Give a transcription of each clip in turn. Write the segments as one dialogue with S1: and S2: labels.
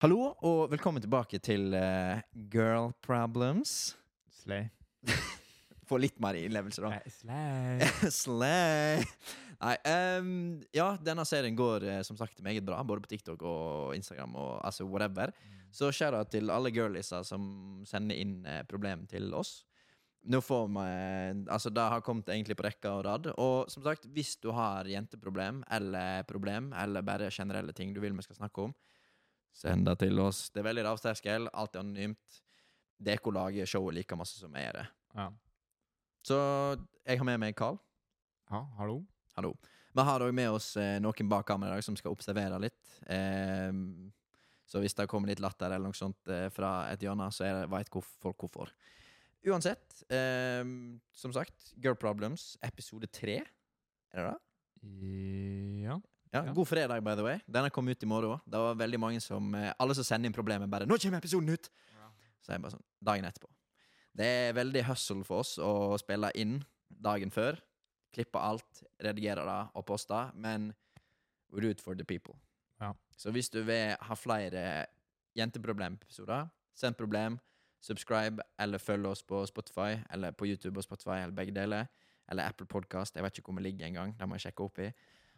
S1: Hallo, og velkommen tilbake til eh, Girl Problems.
S2: Slay.
S1: Få litt mer innlevelse, da.
S2: Slay.
S1: Slay! Nei, ehm, ja, denne serien går eh, som sagt meget bra, både på TikTok og Instagram og altså whatever. Så skjæra til alle girliesa som sender inn eh, problem til oss. Nå får vi eh, Altså, det har kommet egentlig på rekka og rad. Og som sagt, hvis du har jenteproblem eller problem, eller bare generelle ting du vil vi skal snakke om, send det til oss. Det er veldig lav terskel, alt er anonymt. Deko lager showet like masse som vi gjør det.
S2: Ja.
S1: Så jeg har med meg Carl.
S2: ja, hallo.
S1: Hallo. Vi har òg med oss eh, noen bak kamera i dag som skal observere litt. Eh, så hvis det kommer litt latter eller noe sånt eh, fra et hjørne, så er det veit hvorf folk hvorfor. Uansett, eh, som sagt, Girl Problems, episode tre. Er det det?
S2: Ja.
S1: Ja,
S2: Ja.
S1: God fredag, by the way. Denne kom ut i morgen òg. Det var veldig mange som eh, Alle som sender inn problemer, bare 'Nå kommer episoden ut!' Så er jeg bare sånn Dagen etterpå. Det er veldig hustle for oss å spille inn dagen før. Klippe alt, redigere det og poste. Men we do it for the people.
S2: Ja.
S1: Så hvis du vil ha flere jenteproblemepisoder, send problem, subscribe, eller følg oss på Spotify, eller på YouTube og Spotify, eller begge deler. Eller Apple Podcast. Jeg vet ikke hvor vi ligger engang. Det må jeg sjekke opp i.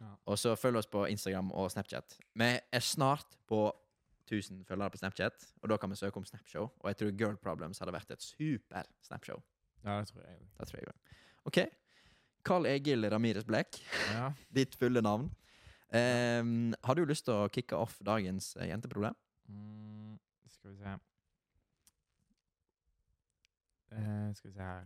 S2: Ja.
S1: Og så følg oss på Instagram og Snapchat. Vi er snart på 1000 følgere på Snapchat, og da kan vi søke om Snapshow. Og jeg tror Girl Problems hadde vært et super Snapshow.
S2: Ja, det tror jeg.
S1: Det tror jeg også. Ok. Carl Egil Ramires Blekk,
S2: Ja.
S1: ditt fulle navn. Ehm, har du lyst til å kicke off dagens eh, jenteproblem?
S2: Mm, skal vi se Eh, Skal vi se her.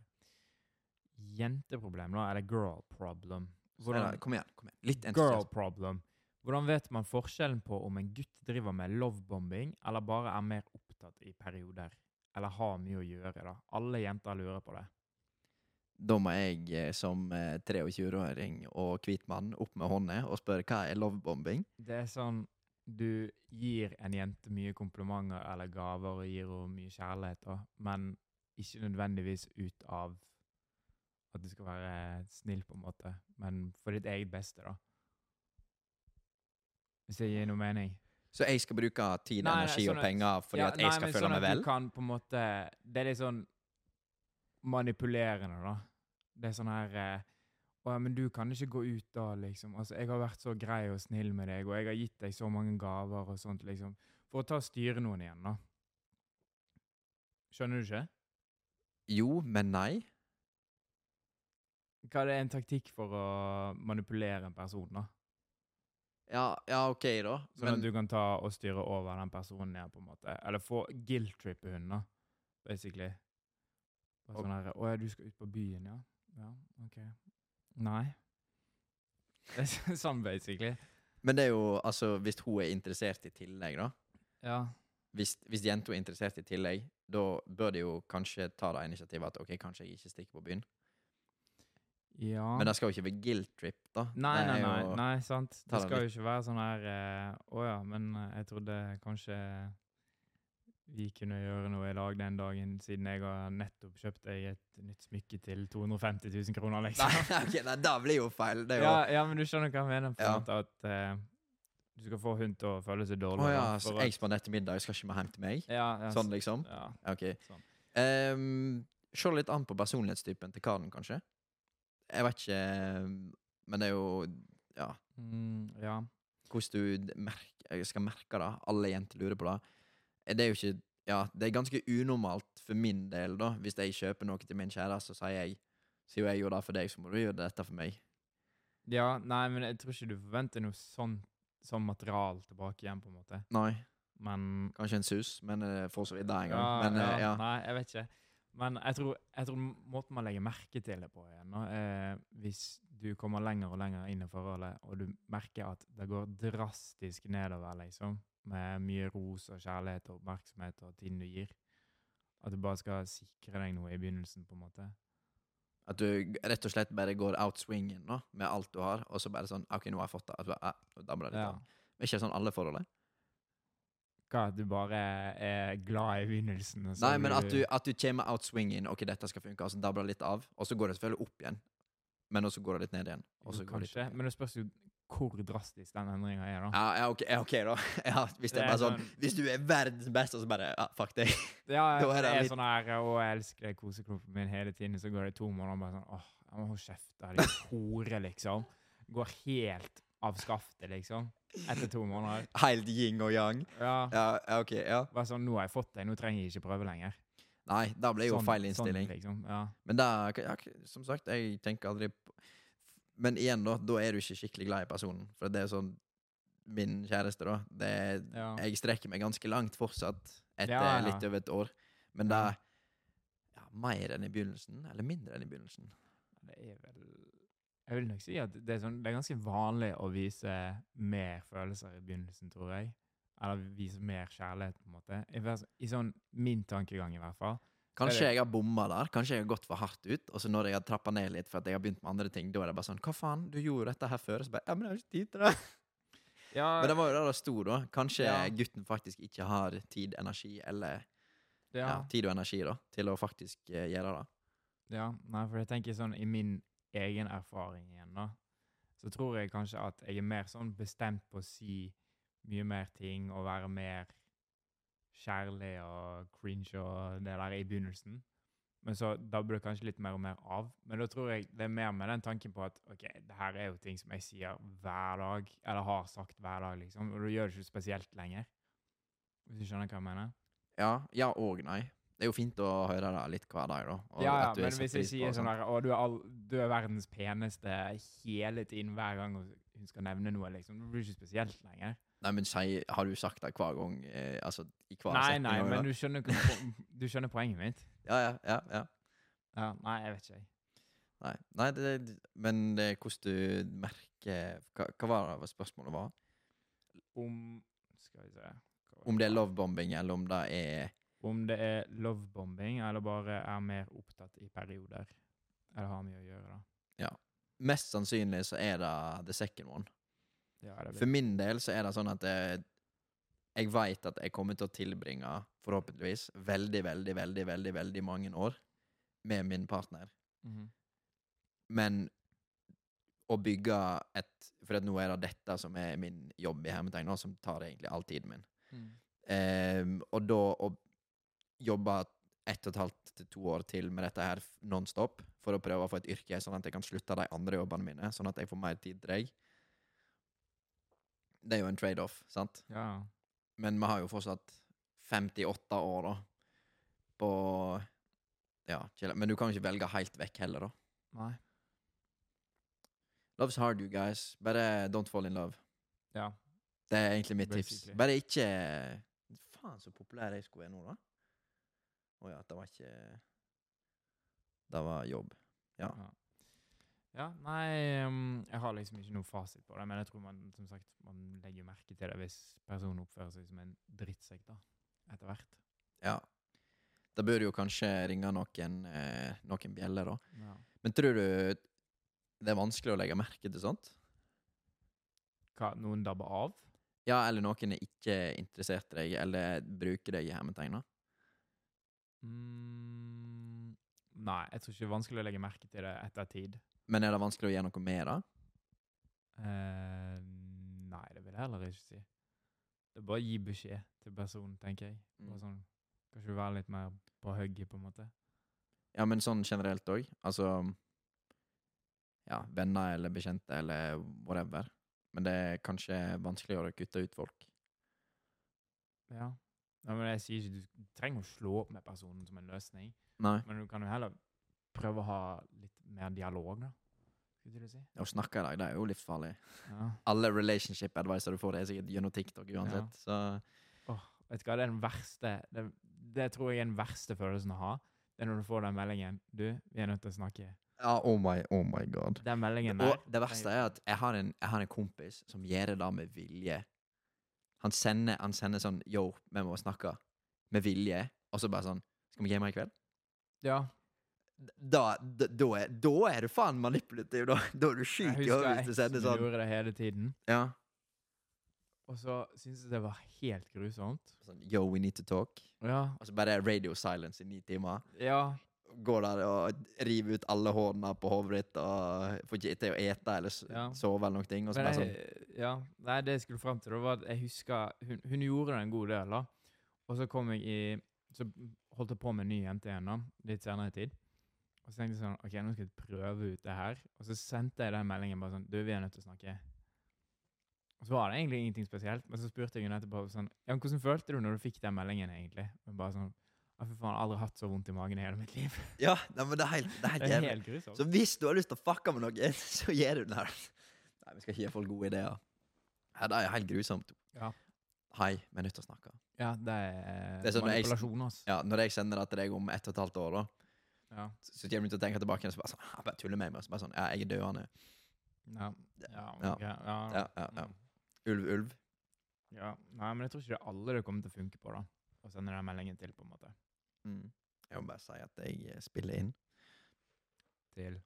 S2: Jenteproblem, da? Eller girl problem?
S1: Eller, kom igjen. kom igjen Litt
S2: Girl
S1: entusiasme.
S2: problem. Hvordan vet man forskjellen på om en gutt driver med lovebombing, eller bare er mer opptatt i perioder? Eller har mye å gjøre, da. Alle jenter lurer på det.
S1: Da må jeg eh, som eh, 23-åring og hvit mann opp med hånda og spørre hva er lovebombing?
S2: Det er sånn Du gir en jente mye komplimenter eller gaver og gir henne mye kjærlighet, da, men ikke nødvendigvis ut av at du skal være snill, på en måte, men for ditt eget beste, da. Hvis det gir noe mening?
S1: Så jeg skal bruke tid,
S2: Nei, nei,
S1: energi og
S2: sånn at-
S1: penger fordi
S2: Ja,
S1: at jeg
S2: nei,
S1: skal
S2: men
S1: føle
S2: sånn
S1: meg
S2: at
S1: vel?
S2: Du kan på en måte Det er litt sånn manipulerende, da. Det er sånn her eh, Å ja, men du kan ikke gå ut da, liksom. Altså, jeg har vært så grei og snill med deg, og jeg har gitt deg så mange gaver og sånt, liksom. For å ta og styre noen igjen, da. Skjønner du ikke?
S1: Jo, men nei.
S2: Hva er det en taktikk for å manipulere en person, da?
S1: Ja, ja OK, da.
S2: Sånn
S1: Men
S2: at du kan ta og styre over den personen igjen, på en måte. Eller få guilt-trippe hunden, da, basically. Bare
S1: Og-
S2: sånn her 'Å ja, du skal ut på byen, ja?' Ja, OK. Nei. Det er så- sånn, basically.
S1: Men det er jo, altså, hvis hun er interessert i tillegg, da
S2: Ja.
S1: Hvis, hvis jenta er interessert i tillegg, da bør de jo kanskje ta det initiativet at OK, kanskje jeg ikke stikker på byen.
S2: Ja
S1: Men det skal jo ikke være guilt trip, da.
S2: Nei,
S1: Det er
S2: nei, nei,
S1: jo-
S2: nei, sant.
S1: Ta
S2: Det
S1: den
S2: skal jo ikke være sånn her eh, 'Å ja, men eh, jeg trodde kanskje vi kunne gjøre noe i lag den dagen, siden jeg har nettopp kjøpt deg et nytt smykke til 250 000 kroner', liksom.
S1: Nei, ok, nei, det blir jo feil. Det er jo
S2: ja, ja, men du skjønner hva jeg mener. På en
S1: Ja.
S2: måte at eh, du skal få hun til å føle seg
S1: Å
S2: dårlig.
S1: ja,
S2: da,
S1: så
S2: for
S1: jeg
S2: at-
S1: spanderte middag, skal ikke vi hjem til meg?
S2: ja, ja,
S1: Sånn,
S2: s-
S1: liksom?
S2: Ja,
S1: OK.
S2: sånn.
S1: Um, Se litt an på personlighetstypen til karen, kanskje. Jeg vet ikke um, Men det er jo Ja.
S2: Mm, ja.
S1: hvordan du d- merk- eh, skal merke det. Alle jenter lurer på det. Eh, Det er jo ikke Ja, det er ganske unormalt for min del, da. Hvis jeg kjøper noe til min kjære, så sier jeg Siden jeg gjorde det for deg, så må du gjøre dette for meg.
S2: ja, nei, men jeg tror ikke du forventer noe sånn, sånn material tilbake igjen, på en måte.
S1: Nei,
S2: Men
S1: kanskje en sus, men eh, for så vidt det en gang. men eh, ja.
S2: Nei, jeg vet ikke. Men jeg tror, jeg tror måten man legger merke til det på igjen, nå, er hvis du kommer lenger og lenger inn i forholdet, og du merker at det går drastisk nedover, liksom, med mye ros og kjærlighet og oppmerksomhet og tiden du gir, at du bare skal sikre deg noe i begynnelsen, på en måte.
S1: At du g- rett og slett bare går out swingen nå, med alt du har, og så bare sånn OK, nå har jeg fått det. At du, bare, eh, nå dabler det litt
S2: Ja.
S1: av. Men Ikke sånn alle forhold. eh?
S2: Hva, at du bare er glad i begynnelsen? og så
S1: Nei, men
S2: blir
S1: at du, at du kommer out swingen, OK, dette skal funke, og så dabler det litt av. Og så går det selvfølgelig opp igjen, men også går det litt ned igjen. Og
S2: Jo,
S1: så går det litt
S2: kanskje,
S1: opp igjen.
S2: men det spørs jo hvor drastisk den endringa er. da.
S1: Ja, ja, ok, ja, ok da. Ja, hvis det er
S2: Det er
S1: bare sånn
S2: sånn-
S1: Hvis du er verdens beste, og så bare ja, Fuck deg.
S2: Ja,
S1: Da er
S2: jeg
S1: det
S2: er
S1: litt-
S2: sånn her, å, jeg elsker deg, koseklumpen min hele tiden, så går det to måneder, og bare sånn, åh, jeg må holde kjeft, det er litt hore, liksom. Går helt av skaftet, liksom, etter to måneder.
S1: Helt yin og yang.
S2: Ja,
S1: Ja, ja, ok, ja.
S2: bare sånn, nå har jeg fått deg, nå trenger jeg ikke prøve lenger.
S1: Nei, da ble jo
S2: Sånn-
S1: feil innstilling.
S2: Sånn, liksom, ja.
S1: Men da, ja, ok, som sagt, jeg tenker aldri på Men igjen, da, da er du ikke skikkelig glad i personen. For det er sånn Min kjæreste, da. Det,
S2: Ja.
S1: Jeg strekker meg ganske langt fortsatt, etter
S2: Ja, Mm. ja.
S1: litt over et år. Men det
S2: Ja.
S1: er ja, mer enn i begynnelsen, eller mindre enn i begynnelsen.
S2: Det er vel... Jeg vil nok si at det er, sånn, det er ganske vanlig å vise mer følelser i begynnelsen, tror jeg. Eller vise mer kjærlighet, på en måte. I, vers- i sånn, min tankegang i hvert fall.
S1: Kanskje
S2: det-
S1: jeg har bomma der, kanskje jeg har gått for hardt ut. Og så når jeg har trappa ned litt for at jeg har begynt med andre ting, da er det bare sånn Hva faen, du gjorde dette her før? Og så bare Ja, men jeg har ikke tid til det.
S2: Ja,
S1: Men det var jo det det sto, da. Kanskje
S2: Ja.
S1: gutten faktisk ikke har tid, energi eller ja. tid og energi da, til å faktisk eh, gjøre det.
S2: Ja, nei, for jeg tenker sånn i min egen erfaring igjen, da, så tror jeg kanskje at jeg er mer sånn bestemt på å si mye mer ting og være mer kjærlig og cringe og det der i begynnelsen. Men så da blir det kanskje litt mer og mer av. Men da tror jeg det er mer med den tanken på at ok, det her er jo ting som jeg sier hver dag, eller har sagt hver dag, liksom, og du gjør det ikke spesielt lenger. Hvis du skjønner hva jeg mener?
S1: Ja, ja og nei. Det er jo fint å høre det litt hver dag, da. og
S2: ja, ja,
S1: at du er
S2: men
S1: satt
S2: hvis
S1: pris
S2: jeg
S1: på
S2: sier
S1: og
S2: sånn
S1: sånt.
S2: der, å, du er, all, du er verdens peneste hele tiden hver gang hun skal nevne noe, liksom, det blir ikke spesielt lenger.
S1: Nei, men si, har du sagt det hver gang? Eh, altså, i hver
S2: Nei,
S1: setning
S2: nei,
S1: og-
S2: men du skjønner, ikke po- du skjønner poenget mitt.
S1: Ja, ja, ja, ja.
S2: Ja, nei, jeg vet ikke. jeg.
S1: Nei, nei det, det- men det, er hvordan du merker hva, hva var det spørsmålet var?
S2: Om, skal vi se. hva var
S1: Om det er lovebombing, eller om det er
S2: Om det er lovebombing, eller bare er mer opptatt i perioder. Eller har mye å gjøre da.
S1: Mest sannsynlig så er det the second one.
S2: Ja, det
S1: For
S2: blir.
S1: min del så er det sånn at jeg, jeg veit at jeg kommer til å tilbringe, forhåpentligvis, veldig, veldig, veldig, veldig veldig mange år med min partner.
S2: Mhm.
S1: Men å bygge et For at nå er det dette som er min jobb i hermetegn, nå, som tar egentlig all tiden min.
S2: Mhm.
S1: Ehm, og da å jobbe ett og et halvt til to år til med dette her f- nonstop for å prøve å få et yrke, sånn at jeg kan slutte de andre jobbene mine, sånn at jeg får mer tid til deg. Det er jo en trade-off, sant?
S2: Ja,
S1: Men vi har jo fortsatt 58 år, da, på Ja, kjele- men du kan jo ikke velge helt vekk heller, da.
S2: nei.
S1: Love's hard, you guys. Bare don't fall in love.
S2: Ja.
S1: Det er egentlig mitt tips.
S2: Basically.
S1: Bare ikke Faen, så populær jeg skulle være nå, da. Å ja, det var ikke Det var jobb. Ja.
S2: Ja. Ja, nei, um, jeg har liksom ikke noe fasit på det, men jeg tror man som sagt, man legger merke til det hvis personen oppfører seg som en drittsekk, da, etter hvert.
S1: Ja. Da bør du jo kanskje ringe noen, eh, noen bjeller, da.
S2: Ja.
S1: Men tror du det er vanskelig å legge merke til sånt?
S2: Hva, noen dabber av?
S1: Ja, eller noen er ikke interessert i deg, eller bruker deg i hermetegn, da?
S2: Mm, nei, jeg tror ikke det er vanskelig å legge merke til det etter tid.
S1: Men er det vanskelig å gjøre noe med det?
S2: Eh, nei, det vil jeg heller ikke si. Det er bare å gi beskjed til personen, tenker jeg. Bare
S1: Mm.
S2: sånn, kanskje være litt mer på hugget, på en måte.
S1: Ja, men sånn generelt òg. Altså Ja, venner eller bekjente eller whatever. Men det er kanskje vanskeligere å kutte ut folk.
S2: Ja. Nei, men jeg sier ikke, du trenger å slå opp med personen som en løsning.
S1: Nei.
S2: Men du kan jo heller prøve å ha litt mer dialog, da. Skulle du si?
S1: Å snakke i dag, det er jo livsfarlig.
S2: Ja.
S1: Alle relationship advisor du får, det er sikkert gjennom TikTok uansett.
S2: Vet du hva, det er den verste det, det tror jeg er den verste følelsen å ha. Det er når du får den meldingen. Du, vi er nødt til å snakke.
S1: Så Ja, oh my, oh my god.
S2: Den meldingen der.
S1: Og det verste er at jeg har en, jeg har en kompis som gjør det da med vilje. Han sender, han sender sånn Yo, vi må snakke. Med vilje. Og så bare sånn Skal vi game i kveld?
S2: Ja.
S1: da, da, da, er, da er du faen manipulativ, da. Da er du
S2: Jeg
S1: sjuk i
S2: husker
S1: hodet hvis du
S2: eksen
S1: sender
S2: min
S1: sånn.
S2: gjorde det hele tiden.
S1: Ja.
S2: Og så syntes jeg det var helt grusomt.
S1: sånn Yo, we need to talk.
S2: Ja.
S1: Og så bare radio silence i ni timer.
S2: ja.
S1: går der og river ut alle hårene på hodet ditt og får ikke til å ete eller s-
S2: Ja.
S1: sove eller noen ting. Og så
S2: Men
S1: bare sånn,
S2: jeg, ja, nei, det jeg skulle fram til, da, var at jeg husker hun, hun gjorde det en god del, da. Og så kom jeg i Så holdt jeg på med en ny jente igjen, da, litt senere i tid. Og så tenkte jeg sånn OK, nå skal jeg prøve ut det her. Og så sendte jeg den meldingen bare sånn Du, vi er nødt til å snakke. Og så var det egentlig ingenting spesielt, men så spurte jeg henne etterpå sånn Ja, men hvordan følte du når du fikk den meldingen, egentlig? Og bare sånn «Ja, Fy faen, jeg har aldri hatt så vondt i magen i hele mitt liv.
S1: sånn, ja, nei, men det er helt, det er
S2: Det
S1: helt
S2: er
S1: jævlig.
S2: helt grusomt.
S1: Så hvis du har lyst til å fucke med noen, så gjør du det her. Nei, vi skal ikke gi folk gode ideer. Ja, det er helt grusomt.
S2: Ja.
S1: Hei, vi er nødt til å snakke.
S2: Ja, det er,
S1: Det er sånn når jeg-
S2: manipulasjon, altså.
S1: Ja, når jeg sender det til deg om ett og et halvt år, da,
S2: Ja.
S1: så kommer du til å tenke tilbake igjen og så bare sånn, «Ah, bare tuller med meg. Så bare sånn, ja, jeg er døende.
S2: Ja. Ja,
S1: Ja.
S2: ok, ja.
S1: Ja, ja, ja.
S2: Mm.
S1: Ulv, ulv.
S2: Ja, Nei, men jeg tror ikke det er alle det kommer til å funke på, da. Å sende den meldingen til, på en måte.
S1: Mm. Jeg må bare si at jeg eh, spiller inn
S2: Til.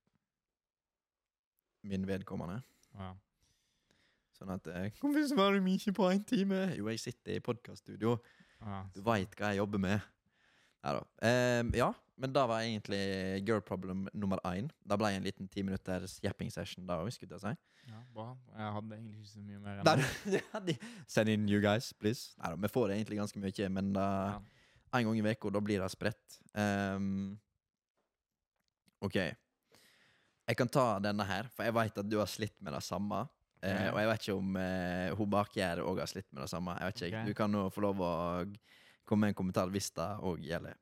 S1: min vedkommende.
S2: Ja.
S1: Sånn at eh, Hvorfor svarer du ikke på en time? Jo, jeg sitter i podkaststudio.
S2: Ja.
S1: Du veit hva jeg jobber med. Nei da. Ehm, ja, men da var egentlig girl problem nummer én. Da ble jeg en liten ti minutters japping session da òg, skulle jeg si.
S2: ja, bra. Jeg hadde egentlig ikke så mye mer
S1: Nei,
S2: enn det.
S1: du- de- Send inn you guys, please. Nei da, vi får egentlig ganske mye, men da,
S2: Ja.
S1: en gang i veka, da blir det spredt. Ehm, OK. Jeg kan ta denne her, for jeg veit at du har slitt med det samme. Eh,
S2: Ja.
S1: og jeg vet ikke om eh, hun bak gjerdet òg har slitt med det samme. Jeg vet ikke,
S2: Ok.
S1: Du kan nå få lov å g- komme med en kommentar hvis det òg gjelder.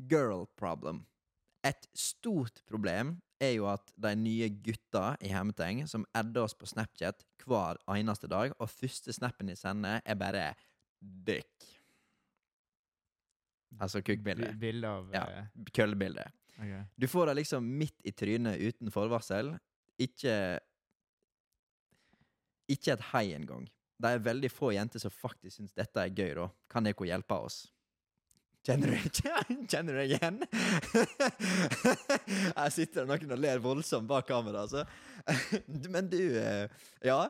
S1: Girl problem. Et stort problem er jo at de nye gutta i hermeteng som adder oss på Snapchat hver eneste dag, og første snappen de sender, er bare dick. Altså kukkbilde.
S2: Bi- Bilde av
S1: Ja.
S2: eh,
S1: Køllebilde.
S2: ok.
S1: Du får det liksom midt i trynet uten forvarsel. Ikke Ikke et hei engang. Det er veldig få jenter som faktisk syns dette er gøy, da. Kan dere hjelpe oss? Kjenner du Kjenner du deg igjen? Her sitter det noen og ler voldsomt bak kamera, altså. Men du eh, Ja.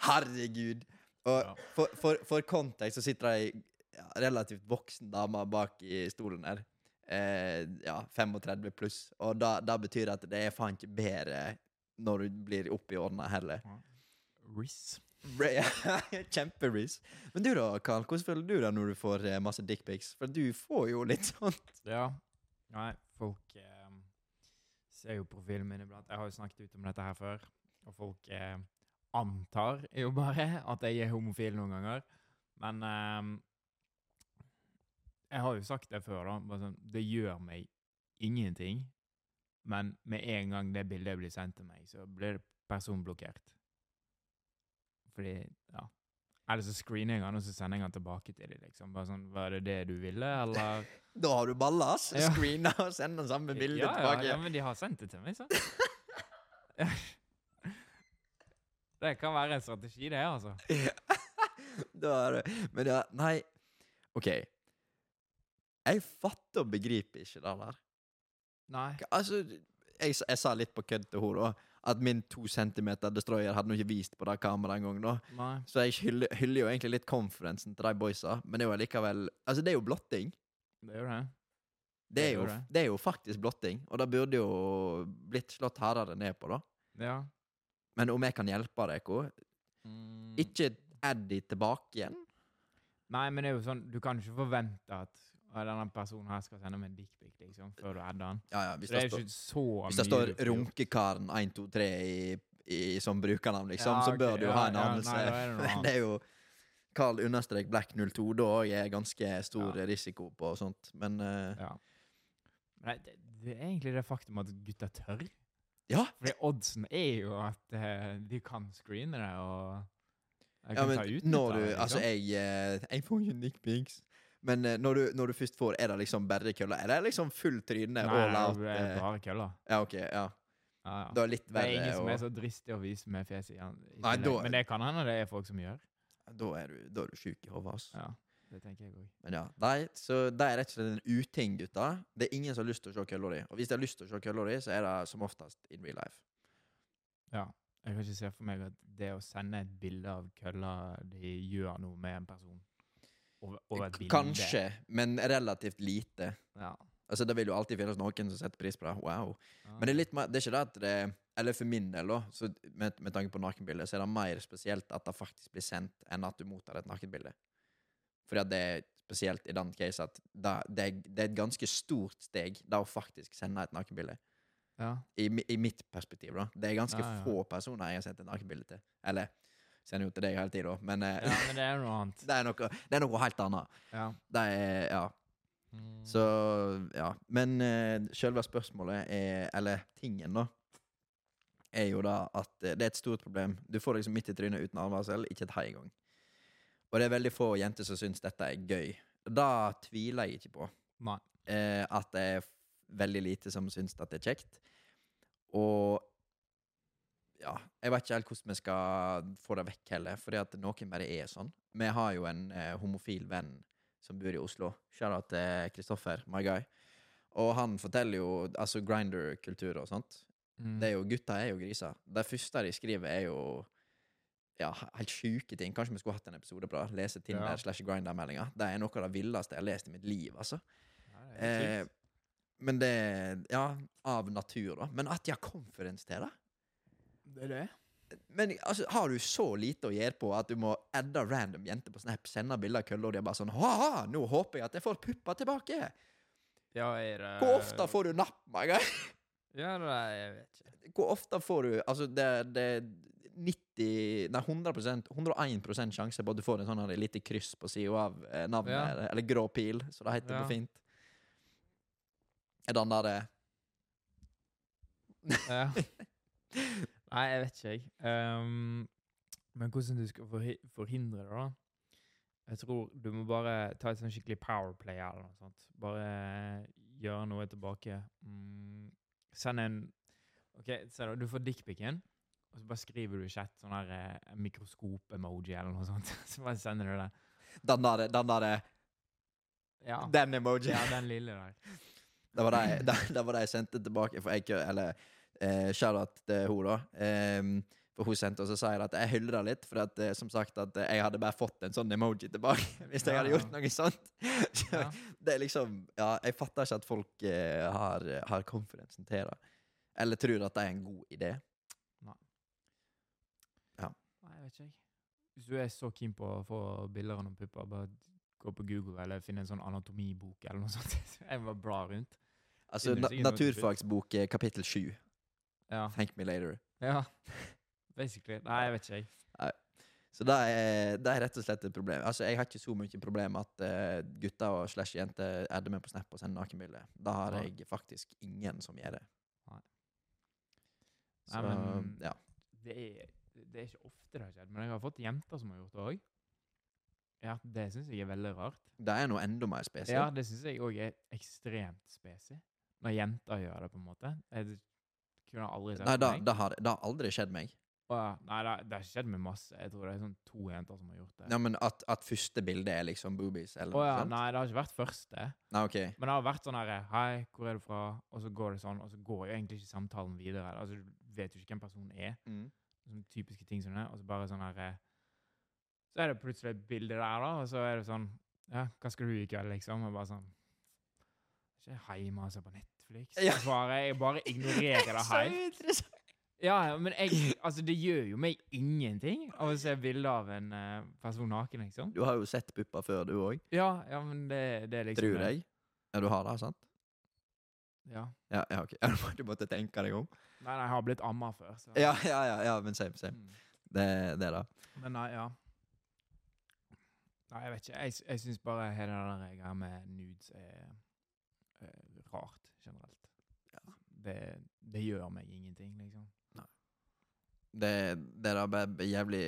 S1: Herregud.
S2: Ja.
S1: Og for, for, for kontekst så sitter ei ja, relativt voksen dame bak i stolen her. Eh, ja, 35 pluss. Og da, da betyr det at det er faen ikke bedre når du blir oppi årene heller.
S2: Riss.
S1: Re- Kjemperis. Men du da, Karl, hvordan føler du deg når du får eh, masse dickpics? For du får jo litt sånn
S2: Ja. Nei, folk eh, ser jo profilen min iblant. Jeg har jo snakket ut om dette her før. Og folk eh, antar jo bare at jeg er homofil noen ganger. Men eh, jeg har jo sagt det før, da. Bare sånn, det gjør meg ingenting. Men med en gang det bildet blir sendt til meg, så blir det personblokkert. Fordi, ja. Eller så screener jeg den, og så sender jeg den tilbake til dem. Liksom. Bare sånn, Var det det du ville, eller?
S1: Da har du balla, ass!
S2: Ja.
S1: Screena og sender samme bilde
S2: ja,
S1: tilbake.
S2: Ja, ja, men de har sendt det til meg, så. det kan være en strategi, det, altså.
S1: da er det Men ja, nei OK. Jeg fatter og begriper ikke det der.
S2: Nei.
S1: Altså, jeg, s- jeg sa litt på kødd til henne, da. At min to centimeter destroyer hadde nå ikke vist på det kameraet engang, da.
S2: Nei.
S1: Så jeg hyller, hyller jo egentlig litt konferansen til de boysa, men det er jo allikevel Altså, det er jo blotting.
S2: Det gjør det.
S1: Det er,
S2: Det
S1: jo,
S2: er det.
S1: det er jo faktisk blotting, og det burde jo blitt slått hardere ned på, da.
S2: Ja.
S1: Men om jeg kan hjelpe deg, Ko
S2: Mm.
S1: Ikke add de tilbake igjen.
S2: Nei, men det er jo sånn, du kan ikke forvente at «Å, denne personen her skal sende meg en dickpic, liksom, før du adder den.
S1: Ja, ja, hvis
S2: Så det
S1: det,
S2: er jo
S1: står-
S2: ikke så mye
S1: hvis det står
S2: du får gjort.
S1: 'Runkekaren 123' i, i, som brukernavn, liksom,
S2: Ja,
S1: så bør
S2: ok,
S1: du jo
S2: ja,
S1: ha en
S2: ja,
S1: anelse.
S2: nei, da er det noe
S1: Men
S2: annet.
S1: det er jo Carl understrek Black 02, da òg er ganske stor
S2: Ja.
S1: risiko på sånt. Men eh,
S2: Ja. Nei, det, det er egentlig det faktum at gutter tør.
S1: Ja.
S2: Fordi oddsen er jo at eh, de kan screene det, og
S1: Ja,
S2: de kan ta
S1: men
S2: utnytte
S1: når
S2: det,
S1: du
S2: liksom.
S1: Altså, jeg eh, Jeg får ikke dickpics. Men eh, når, du, når du først får, er det liksom bare kølla? Er det liksom full tryne?
S2: Nei,
S1: all out?
S2: det er
S1: eh,
S2: bare køller.
S1: ja, OK. Ja.
S2: Ja,
S1: Da
S2: ja.
S1: er det litt
S2: Det er
S1: verre.
S2: ingen som er
S1: og-
S2: så dristig å vise med fjeset i an- i
S1: Nei,
S2: tillegg.
S1: da er-
S2: Men det kan hende det er folk som gjør.
S1: Da er du, da er du sjuk i hodet, altså.
S2: Ja, det tenker jeg også.
S1: Men ja, nei, så det er rett og slett en uting, gutta. Det er ingen som har lyst til å se kølla di. Og hvis de har lyst til å se kølla di, så er det som oftest in real life.
S2: Ja. Jeg kan ikke se for meg at det å sende et bilde av kølla de gjør noe med en person. Over, over et
S1: K-
S2: bilde.
S1: Kanskje, men relativt lite.
S2: Ja.
S1: Altså, det vil jo alltid finnes noen som setter pris på det. Wow. Men det er litt mer, det er ikke det at det Eller for min del, da, så med, med tanke på nakenbildet, så er det mer spesielt at det faktisk blir sendt, enn at du mottar et nakenbilde. Fordi at det er spesielt i den case at det, det, er- det er et ganske stort steg, det å faktisk sende et nakenbilde.
S2: Ja.
S1: I, mi- I mitt perspektiv, da. Det er ganske
S2: Ja, ja.
S1: få personer jeg har sendt et nakenbilde til. Eller sender jo til deg hele tida, men eh,
S2: ja, men det er noe annet.
S1: det, er noe, det er noe helt annet.
S2: Ja.
S1: Det er Ja. Så ja. Men uh, selve spørsmålet er Eller tingen, da. Er jo da at eh, det er et stort problem. Du får liksom midt i trynet uten advarsel, ikke et hei engang. Og det er veldig få jenter som syns dette er gøy. Da tviler jeg ikke på
S2: Mm. Nei.
S1: eh, at det er f- veldig lite som syns at det er kjekt. Og ja, jeg vet ikke helt hvordan vi skal få det vekk heller, fordi at noen bare er sånn. Vi har jo en eh, homofil venn som bor i Oslo. Kjære til Kristoffer, my guy. Og han forteller jo altså grinder-kultur og sånt.
S2: Mm.
S1: Det er jo, gutta er jo griser. Det første de skriver, er jo ja, he- helt sjuke ting. Kanskje vi skulle hatt en episode på det. Lese Tinder
S2: Ja.
S1: slash Grindr-meldinger. Det er noe av det villeste jeg har lest i mitt liv, altså.
S2: Ja, det er
S1: Eh,
S2: helt sykt.
S1: men det Ja, av natur, da. Men at de har conference til det?
S2: det er det.
S1: Men altså, har du så lite å gjøre på at du må adde random jenter på Snap, sende bilder av køller, og de er bare sånn Ha-ha, nå håper jeg at jeg får puppa tilbake!
S2: Ja, er det
S1: Hvor ofte får du napp, my guy?
S2: Ja, det er, jeg vet ikke.
S1: Hvor ofte får du Altså, det, det er 90 Nei, 100 101 sjanse på at du får en sånn her lite kryss på sida av eh, navnet,
S2: Ja.
S1: eller, eller grå pil, som det heter
S2: Ja.
S1: på fint. Er den der eh,
S2: Ja. Nei, jeg vet ikke, jeg. Ehm, men hvordan du skal forhi- forhindre det, da? Jeg tror du må bare ta et sånn skikkelig powerplay eller noe sånt. Bare gjøre noe tilbake. Mm, send en OK, se da. Du får dickpicen, og så bare skriver du i chat sånn her eh, mikroskop-emoji eller noe sånt. Så bare sender du det.
S1: Den der, den der eh,
S2: Ja.
S1: Den emojien.
S2: ja, den lille der.
S1: Det var det, det, det var det jeg sendte tilbake. For jeg, kø- eller eh, shout-out til hun da. Em, for hun sendte, og så sa jeg at jeg hyller det litt. For at, eh, som sagt, at eh, jeg hadde bare fått en sånn emoji tilbake hvis jeg
S2: Ja,
S1: hadde
S2: ja.
S1: gjort noe sånt. Så
S2: Ja.
S1: det er liksom Ja, jeg fatter ikke at folk eh, har, har konferansen til det. Eller tror at det er en god idé.
S2: Nei, jeg vet ikke. jeg. Hvis du er så keen på å få bilder av noen pupper, bare gå på Google eller finne en sånn anatomibok eller noe sånt. Jeg bare blar rundt.
S1: Altså,
S2: Finnes
S1: na
S2: sikkert noe tilbud.
S1: Naturfagsbok eh, kapittel 7.
S2: Ja.
S1: Thank me later.
S2: ja. Basically. Nei, jeg vet ikke, jeg.
S1: Så det er, det er rett og slett et problem. Altså, Jeg har ikke så mye problem at eh, gutter og slash jenter adder meg på Snap og sender nakenbilder. Da har
S2: Nei.
S1: jeg faktisk ingen som gjør det.
S2: Nei.
S1: Så,
S2: Nei, men-
S1: ja.
S2: Det er, det er ikke ofte det har skjedd, men jeg har fått jenter som har gjort det òg. Ja, det syns jeg er veldig rart.
S1: Det er noe enda mer
S2: Ja,
S1: spesielt.
S2: det syns jeg òg er ekstremt spesielt. Når jenter gjør det, på en måte. Jeg kunne aldri sett
S1: Nei,
S2: for
S1: det,
S2: liksom meg.
S1: det, har, det har aldri skjedd meg.
S2: Å ja. Nei, det, det har skjedd med masse. Jeg tror det er sånn to jenter som har gjort det.
S1: Ja, men At, at første bilde er liksom boobies, eller
S2: Å ja,
S1: noe sånt?
S2: nei, det har ikke vært første.
S1: Nei, ok.
S2: Men det har vært sånn herre Hei, hvor er du fra? Og så går det sånn, og så går jo egentlig ikke samtalen videre. Altså, Du vet jo ikke hvem personen er.
S1: Mm.
S2: Sånne typiske ting som det. Og så bare sånn herre Så er det plutselig et bilde der, da, og så er det sånn Ja, hva skal du i kveld, liksom? Og bare sånn Ikke hjemme, altså, på Netflix.
S1: Ja.
S2: Så Bare, jeg bare ignorerer det
S1: Så
S2: helt.
S1: interessant!
S2: Ja, ja, men jeg Altså, det gjør jo meg ingenting av å se bilde av en eh, person naken, liksom.
S1: Du har jo sett pupper før, du òg.
S2: Ja, ja, men det, det er liksom
S1: Tror jeg. Ja, du har det, sant?
S2: Ja.
S1: Ja, ja ok. Ja, Du måtte tenke deg om.
S2: Nei, nei, jeg har blitt amma før, så
S1: Ja, ja, ja, ja men same, same.
S2: Mm.
S1: Det, det er det.
S2: Men nei, ja. Nei, jeg vet ikke. Jeg, s- jeg syns bare hele den der greia med nudes er, er rart, generelt. Det, det gjør meg ingenting, liksom.
S1: Det, det er da bare jævlig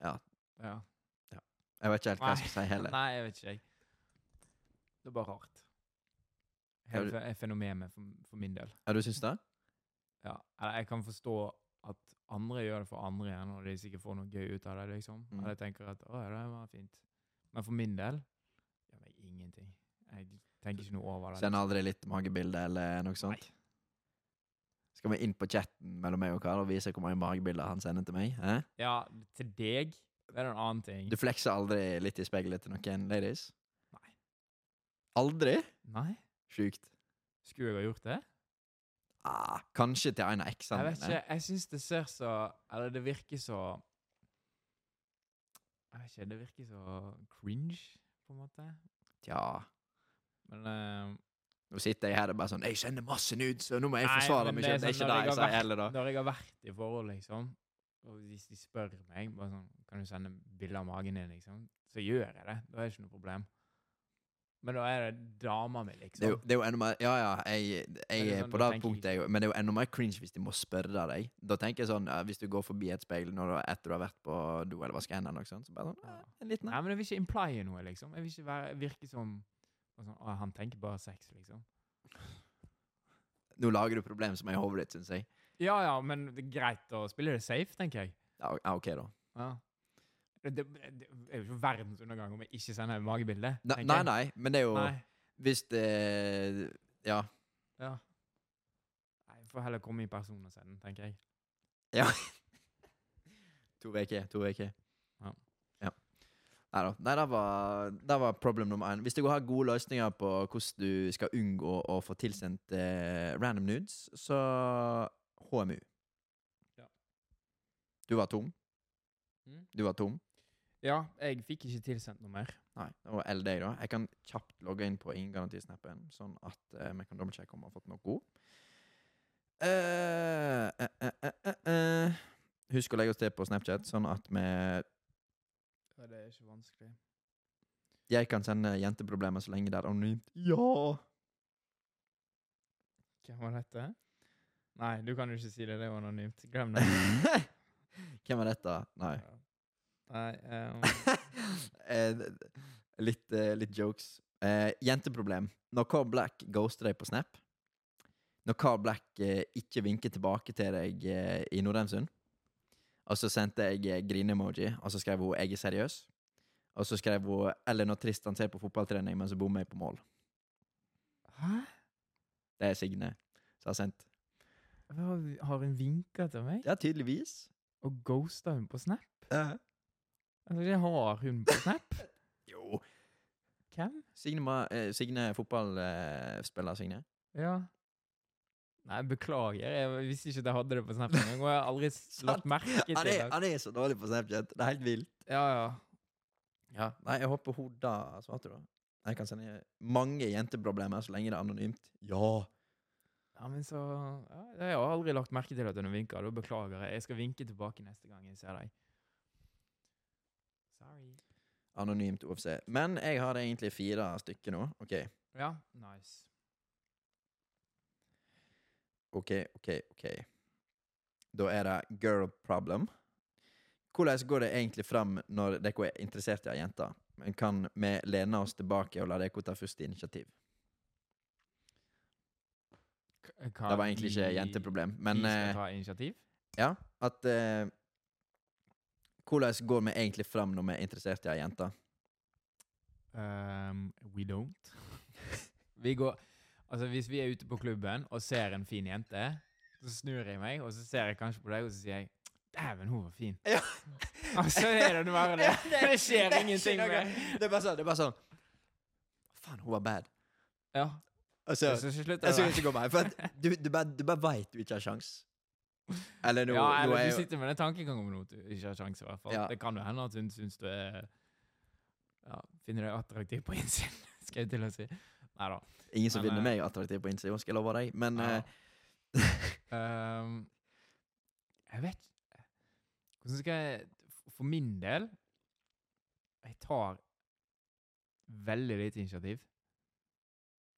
S2: Ja.
S1: Jeg vet ikke helt hva jeg skal si heller.
S2: Nei, jeg vet ikke, jeg. Det er bare rart.
S1: Ja,
S2: Hele
S1: du-
S2: fe- er fenomenet for, for min del.
S1: Ja, du syns det?
S2: Ja. Eller jeg kan forstå at andre gjør det for andre igjen, og de sikkert får noe gøy ut av det, liksom.
S1: Mm.
S2: Eller tenker at 'Å, ja, det var fint'. Men for min del gjør meg ingenting. Jeg tenker ikke noe over det.
S1: Send aldri litt magebilde eller noe sånt? Skal vi inn på chatten mellom meg og Karl og vise hvor mange magebilder han sender til meg? Hæ?
S2: Ja, til deg det er en annen ting.
S1: Du flekser aldri litt i speilet til noen ladies?
S2: Nei.
S1: Aldri?
S2: Nei?
S1: Sjukt.
S2: Skulle jeg ha gjort det?
S1: Ah, kanskje til en av
S2: Jeg
S1: eksene
S2: vet
S1: mine.
S2: ikke, jeg syns det ser så Eller det virker så Jeg vet ikke, det virker så cringe, på en måte.
S1: Tja.
S2: Men eh,
S1: Nå sitter jeg her og bare sånn Jeg kjenner masse nudes, og nå må jeg
S2: nei,
S1: forsvare
S2: men
S1: meg
S2: det er
S1: sjøl. Det er ikke det
S2: sånn når
S1: jeg
S2: har
S1: sier heller,
S2: vært-
S1: da.
S2: Når jeg har vært i forhold, liksom, og hvis de spør meg bare sånn, Kan du sende bilde av magen din, liksom, så gjør jeg det. Da er det ikke noe problem. Men da er det dama mi, liksom.
S1: Det er, jo, det er jo enda mer Ja, ja, jeg, jeg
S2: det
S1: er
S2: sånn
S1: på
S2: du
S1: det
S2: tenker?
S1: punktet, jeg òg. Men det er jo enda mer cringe hvis de må spørre deg. Da tenker jeg sånn ja, Hvis du går forbi et speil når du, etter du har vært på do eller vaska hendene, eller noe sånt, så bare sånn eh, En liten en.
S2: Nei, men jeg vil ikke implie noe, liksom. Jeg vil ikke være, virke som og sånn, «Å, Han tenker bare sex, liksom.
S1: Nå lager du problem som er i hodet ditt, syns jeg.
S2: Ja ja, men det er greit å spille det safe, tenker jeg.
S1: Ja, ja, OK, da.
S2: Ja. Det, det, det er jo ikke verdens undergang om jeg ikke sender magebilde.
S1: Ne-
S2: tenker
S1: Nei,
S2: jeg.
S1: nei, men det er jo
S2: Nei.
S1: Hvis det Ja.
S2: Ja. Nei, jeg får heller komme i person og sende den, tenker jeg.
S1: To uker. To uker.
S2: Ja.
S1: Ja. Nei da. Nei, det var, det var problem nummer én. Hvis du har gode løsninger på hvordan du skal unngå å få tilsendt eh, random nudes, så HMU.
S2: Ja.
S1: Du var tom.
S2: Mm.
S1: Du var tom.
S2: Ja, jeg fikk ikke tilsendt noe mer.
S1: Nei, det var LD, da. Jeg kan kjapt logge inn på ingarantisnappen, sånn at eh, vi kan dobbeltsjekke om vi har fått noe. Eh, eh, eh, eh, eh, eh. Husk å legge oss til på Snapchat, sånn at vi
S2: Ja, det er ikke vanskelig.
S1: Jeg kan sende jenteproblemer så lenge det er anonymt. Ja!
S2: Hvem var dette? Nei, du kan jo ikke si det. Det er jo anonymt. Glem det.
S1: Hvem er dette? Nei.
S2: Ja. Nei, ehm,
S1: Eh, d- d- litt, eh, litt jokes. Eh, jenteproblem. Når Carl Black ghoster deg på Snap, når Carl Black eh, ikke vinker tilbake til deg eh, i Nordheimsund, og så sendte jeg eh, grine-emoji, og så skrev hun 'jeg er seriøs', og så skrev hun 'eller når Tristan ser på fotballtrening, men så bommer jeg på mål'.
S2: Hæ?
S1: Det er Signe som har sendt.
S2: Hva Har har hun vinka til meg?
S1: Ja, tydeligvis.
S2: Og ghosta hun på Snap?
S1: Eh,
S2: Altså, det har hun på Snap?
S1: jo.
S2: Hvem?
S1: Signe, ma- eh, Signe fotballspiller, Signe.
S2: Ja. Nei, beklager. Jeg visste ikke at jeg hadde det på Snap engang. Og jeg har aldri s- lagt merke til
S1: Han
S2: det.
S1: er, han er så dårlig på Snapchat. Det er helt vilt.
S2: Ja, ja.
S1: Ja, nei, jeg håper hun da altså, svarte, da. Jeg kan sende mange jenteproblemer så lenge det er anonymt. Ja.
S2: Ja, men så ja, Jeg har aldri lagt merke til at hun vinker. Da beklager jeg. Jeg skal vinke tilbake neste gang jeg ser deg. Sorry.
S1: Anonymt OFC. Men jeg har egentlig fire stykker nå. OK,
S2: Ja, nice.
S1: OK, OK. ok. Da er det girl problem. Hvordan går det egentlig fram når dere er interessert i ei jente? Men Kan vi lene oss tilbake og la dere ta første initiativ? Det var egentlig ikke jenteproblem, men
S2: Vi
S1: eh,
S2: skal ta initiativ?
S1: Ja, at eh, Hvordan går vi egentlig fram når vi er interessert i ei jente?
S2: Um, we don't. vi går Altså, hvis vi er ute på klubben og ser en fin jente, så snur jeg meg, og så ser jeg kanskje på deg, og så sier jeg Dæven, hun var fin.
S1: Ja.
S2: Og så er det bare det.
S1: Ja,
S2: Det skjer
S1: det er
S2: ingenting
S1: ikke noe.
S2: mer.
S1: Det er bare sånn. det er bare sånn Faen, hun var bad.
S2: Ja,
S1: Altså,
S2: så slutter
S1: jeg
S2: det.
S1: skulle ikke gå meg, for at du, du bare, du bare veit du ikke har sjans. Eller nå,
S2: ja,
S1: nå er
S2: eller du
S1: jo
S2: sitter med den tankegangen om at du ikke har sjanse, i hvert fall.
S1: Ja.
S2: Det kan jo hende at hun syns du er Ja, finner deg attraktiv på innsiden, skal jeg til å si. Nei da.
S1: ingen som
S2: Men,
S1: finner
S2: eh,
S1: meg attraktiv på innsida, skal jeg love deg. Men
S2: Ja.
S1: eh,
S2: Ehm, jeg vet ikke Hvordan skal jeg f- For min del Jeg tar veldig lite initiativ.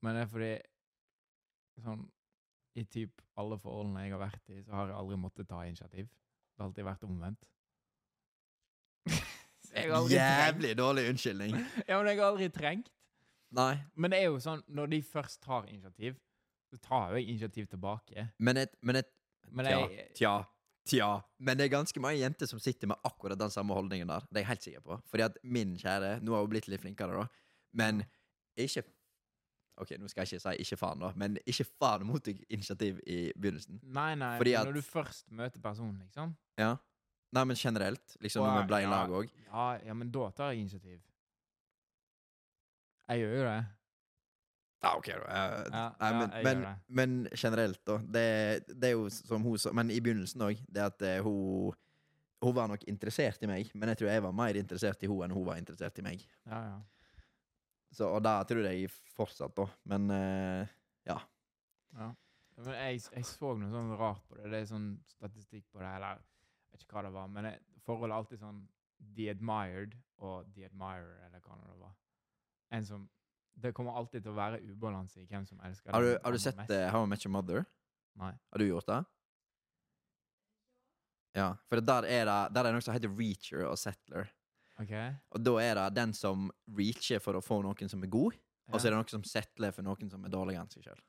S2: Men det er fordi sånn I typ alle forholdene jeg har vært i, så har jeg aldri måttet ta initiativ. Det har alltid vært omvendt. Så jeg har aldri trengt-
S1: jævlig dårlig unnskyldning.
S2: Ja, men jeg har aldri trengt.
S1: Nei.
S2: Men det er jo sånn, når de først tar initiativ, så tar jo jeg initiativ tilbake.
S1: Men et, men et
S2: Men
S1: tja,
S2: jeg,
S1: tja, tja. Men det er ganske mange jenter som sitter med akkurat den samme holdningen der. Det er jeg helt sikker på. Fordi at min kjære Nå har hun blitt litt flinkere, da. Men ikke OK, nå skal jeg ikke si 'ikke faen', da, men ikke faen mot initiativ i begynnelsen.
S2: Nei, nei,
S1: Fordi
S2: men
S1: at-
S2: når du først møter personen, liksom.
S1: Ja. Nei, men generelt. Liksom når
S2: Wow,
S1: vi ble i
S2: ja.
S1: lag òg.
S2: Ja, ja, men da tar jeg initiativ. Jeg gjør jo det.
S1: Ja, ok, da. Eh,
S2: Ja,
S1: nei,
S2: ja,
S1: men,
S2: jeg
S1: men,
S2: gjør det.
S1: men generelt, da. Det, det er jo som hun sa, men i begynnelsen òg, det at eh, hun Hun var nok interessert i meg, men jeg tror jeg var mer interessert i hun enn hun var interessert i meg.
S2: Ja, ja.
S1: Så, og det tror jeg fortsatt, da. Men eh,
S2: ja. Men jeg, jeg så noe sånn rart på det. Det er sånn statistikk på det, eller jeg vet ikke hva det var. Men det, forholdet er alltid sånn the admired og the admirer, eller hva nå det var. En som Det kommer alltid til å være ubalanse i hvem som elsker
S1: har, du,
S2: den
S1: har
S2: andre
S1: du sett
S2: mest.
S1: eh, How I Met Your Mother?
S2: Nei.
S1: Har du gjort det? Ja, for der er det, der er det noe som heter reacher og settler.
S2: OK?
S1: Og da er det den som reacher for å få noen som er god, og så
S2: Ja.
S1: er det noen som settler for noen som er dårligere enn seg sjøl.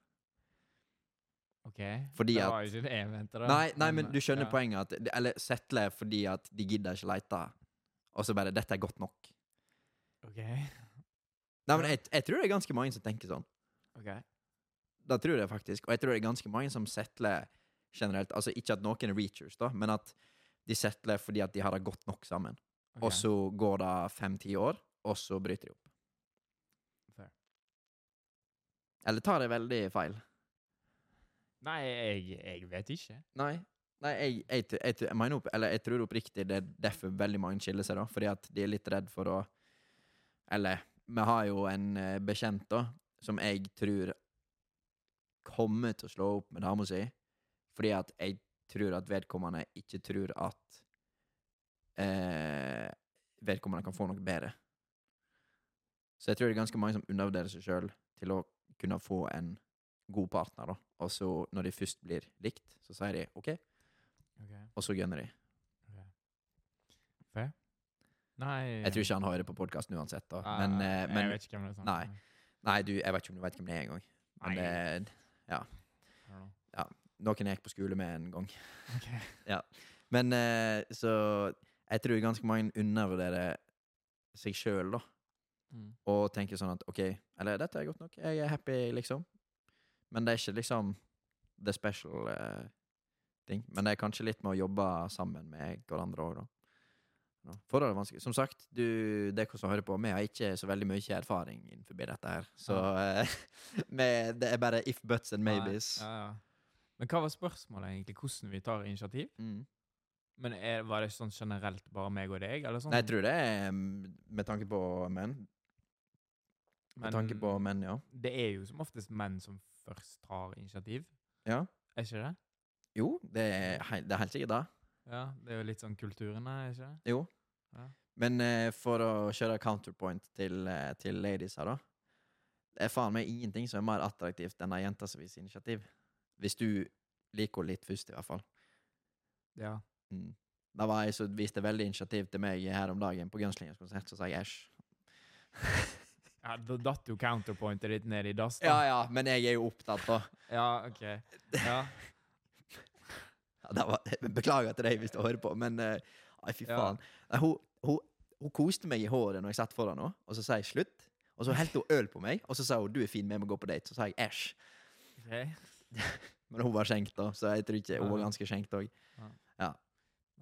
S2: OK.
S1: Fordi
S2: det
S1: at-
S2: var jo ikke det jeg mente, da.
S1: Nei, nei, men du skjønner
S2: ja.
S1: poenget at Eller settle fordi at de gidder ikke leite Og så bare, dette er godt nok
S2: Ok.
S1: Nei, men jeg, jeg tror det er ganske mange som tenker sånn
S2: Ok.
S1: Da tror jeg faktisk Og jeg tror det er ganske mange som settler generelt Altså ikke at noen er reachers da Men at de settler fordi at de har det godt nok sammen
S2: ok.
S1: Og så går det 5-10 år Og så bryter de opp
S2: Fair.
S1: Eller tar jeg veldig feil?
S2: Nei, jeg, jeg vet ikke.
S1: Nei. Nei, jeg, jeg, tr- jeg, tr- jeg, mener opp, eller jeg tror oppriktig det er derfor veldig mange skiller seg, da. Fordi at de er litt redd for å Eller vi har jo en eh, bekjent, da, som jeg tror kommer til å slå opp med dama si. Fordi at jeg tror at vedkommende ikke tror at eh, vedkommende kan få noe bedre. Så jeg tror det er ganske mange som undervurderer seg sjøl til å kunne få en god partner, da. Og så, når de først blir likt, så sier de OK,
S2: Ok.
S1: og så gunner de.
S2: Nei
S1: Jeg tror ikke han hører på podkasten uansett, da.
S2: Nei,
S1: Men,
S2: nei,
S1: eh,
S2: Ah, Jeg
S1: men
S2: vet ikke hvem det er. sånn.
S1: nei. Nei, du, jeg vet ikke om du vet hvem det er engang. Men
S2: Nei, jeg
S1: det-
S2: don't know.
S1: noen jeg gikk på skole med en gang.
S2: Ok.
S1: Men eh, så Jeg tror ganske mange undervurderer seg sjøl, da.
S2: Mm.
S1: Og tenker sånn at OK, eller dette er godt nok. Jeg er happy, liksom. Men det er ikke liksom the special eh, thing. Men det er kanskje litt med å jobbe sammen med hverandre òg, da. Ja, Forhold er vanskelig. Som sagt, du, det som hører på, vi har ikke så veldig mye erfaring innenfor dette her. Så eh, vi- det er bare if buts and
S2: Nei,
S1: maybes.
S2: Ja, ja. Men hva var spørsmålet egentlig? Hvordan vi tar initiativ?
S1: Mm.
S2: Men er, Var det sånn generelt bare meg og deg? eller sånn?
S1: Nei, jeg tror det er mm, med tanke på menn. Med
S2: Men
S1: tanke på menn, ja.
S2: Det er jo som oftest menn som først tar initiativ.
S1: ja.
S2: Er ikke det?
S1: Jo, det er, hei- det er helt sikkert det.
S2: Ja, Det er jo litt sånn kulturen, er ikke det?
S1: Jo.
S2: Ja.
S1: Men eh, for å kjøre counterpoint til, eh, til ladies her, da. Det er faen meg ingenting som er mer attraktivt enn ei jente som viser initiativ. Hvis du liker henne litt først, i hvert fall.
S2: Ja.
S1: Mm. Det var ei som viste veldig initiativ til meg her om dagen på Gunslingens konsert, så sa jeg æsj.
S2: ja da datt jo counterpointet ditt ned i dass. da.
S1: Ja ja, men jeg er jo opptatt, da.
S2: ja, ok. Ja.
S1: Ja, det var, beklager til deg hvis du hører på, men eh, Nei, fy
S2: Ja.
S1: faen. Nei, hun, hun, hun koste meg i håret når jeg satt foran henne, og så sa jeg slutt. Og så helte hun øl på meg, og så sa hun 'du er fin, vi må gå på date'. Så sa jeg æsj.
S2: ok.
S1: Men hun var skjenkt, da, så jeg tror ikke hun var
S2: Ja.
S1: ganske skjenkt òg.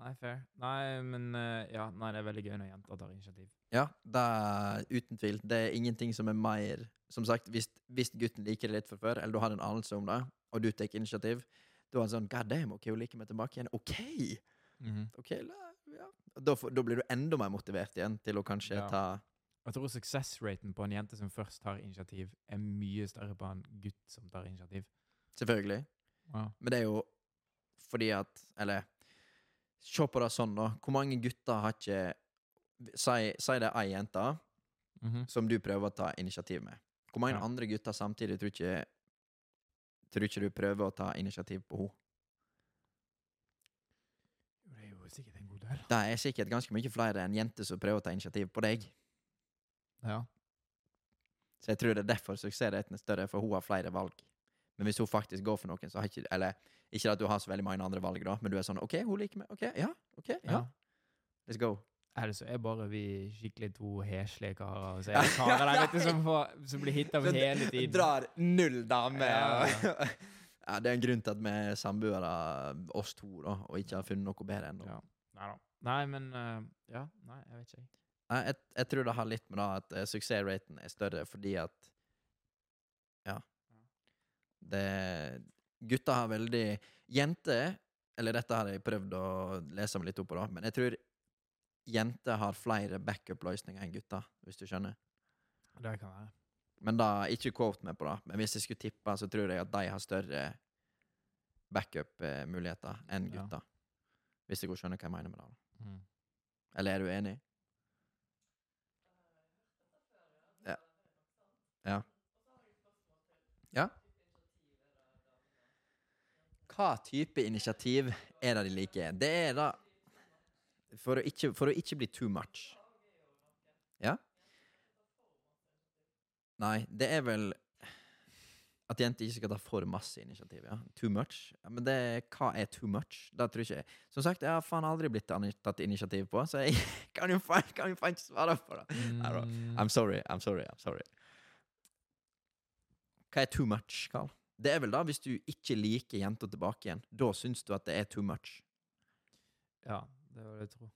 S2: Nei, fair. Nei, men eh, ja, nei, det er veldig gøy når jenter tar initiativ.
S1: Ja, det er uten tvil. Det er ingenting som er mer Som sagt, hvis, hvis gutten liker det litt fra før, eller du har en anelse om det, og du tar initiativ, da er han sånn 'god damn, OK, hun liker meg tilbake igjen'. OK!
S2: Mhm.
S1: ok, la- ja. da, får- da blir du enda mer motivert igjen til å kanskje
S2: Ja.
S1: ta
S2: Jeg tror suksessraten på en jente som først tar initiativ, er mye større på en gutt som tar initiativ.
S1: Selvfølgelig. Men det er jo fordi at Eller se på det sånn, da. Hvor mange gutter har ikke Si, si det er ei jente
S2: Mhm.
S1: som du prøver å ta initiativ med. Hvor mange
S2: Ja.
S1: andre gutter samtidig tror ikke Tror ikke du prøver å ta initiativ på henne?
S2: Jo, Det er jo sikkert en god del.
S1: Det er sikkert ganske mye flere enn jenter som prøver å ta initiativ på deg.
S2: Ja.
S1: Så jeg tror det er derfor suksessraten er større, for hun har flere valg. Men hvis hun faktisk går for noen, så har ikke Eller ikke at du har så veldig mange andre valg, da, men du er sånn OK, hun liker meg. OK, ja. OK, ja. Let's go.
S2: Eller så er bare vi skikkelig to heslige karer. Så er det karer der vet du, som, får, som blir hitta
S1: Så
S2: hele tiden.
S1: Drar null damer.
S2: Ja.
S1: Ja. det er en grunn til at vi er samboere, oss to, da, og ikke har funnet noe bedre ennå.
S2: Ja. Nei da. Nei, men eh, Ja, nei, jeg vet ikke.
S1: Nei, Jeg, jeg tror det har litt med det at eh, suksessraten er større fordi at Det, gutter har veldig Jenter Eller dette har jeg prøvd å lese meg litt opp på, da, men jeg tror jenter har flere backup-løsninger enn gutter, hvis du skjønner.
S2: Det kan være.
S1: Men da, ikke quote meg på det, men hvis jeg skulle tippe, så tror jeg at de har større backup-muligheter enn
S2: Ja.
S1: gutter. Hvis jeg skjønner hva jeg mener med det. da.
S2: Mm.
S1: Eller er du enig? Ja. Ja. ja. Hva type initiativ er det de liker? Det er da For å ikke, for å ikke bli too much. Ja? Nei, det er vel at jenter ikke skal ta for masse initiativ. ja. Too much. Ja, men det, hva er too much? Det tror ikke jeg som sagt, jeg har faen aldri blitt ani- tatt initiativ på, så jeg kan jo faen, kan jo faen ikke svare på det.
S2: Mm.
S1: Nei da. I'm sorry, I'm sorry, I'm sorry. Hva er too much, Carl? Det er vel da hvis du ikke liker jenta tilbake igjen. Da syns du at det er too much.
S2: Ja, det var det jeg tror.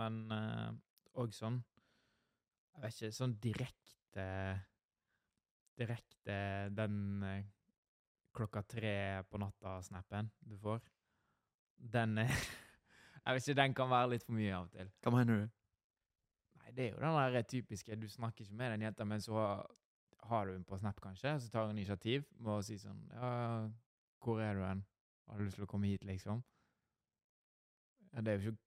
S2: Men òg sånn Jeg vet ikke, sånn direkte Direkte den eh, klokka tre på natta-snappen du får, den eh, Jeg vet ikke, den kan være litt for mye av og til.
S1: Hva mener du?
S2: Nei, det er jo den der eh, typiske Du snakker ikke med den jenta, men så har, har du den på Snap, kanskje, så tar hun initiativ med å si sånn Ja, hvor er du hen? Har du lyst til å komme hit, liksom? Ja, det er jo ikke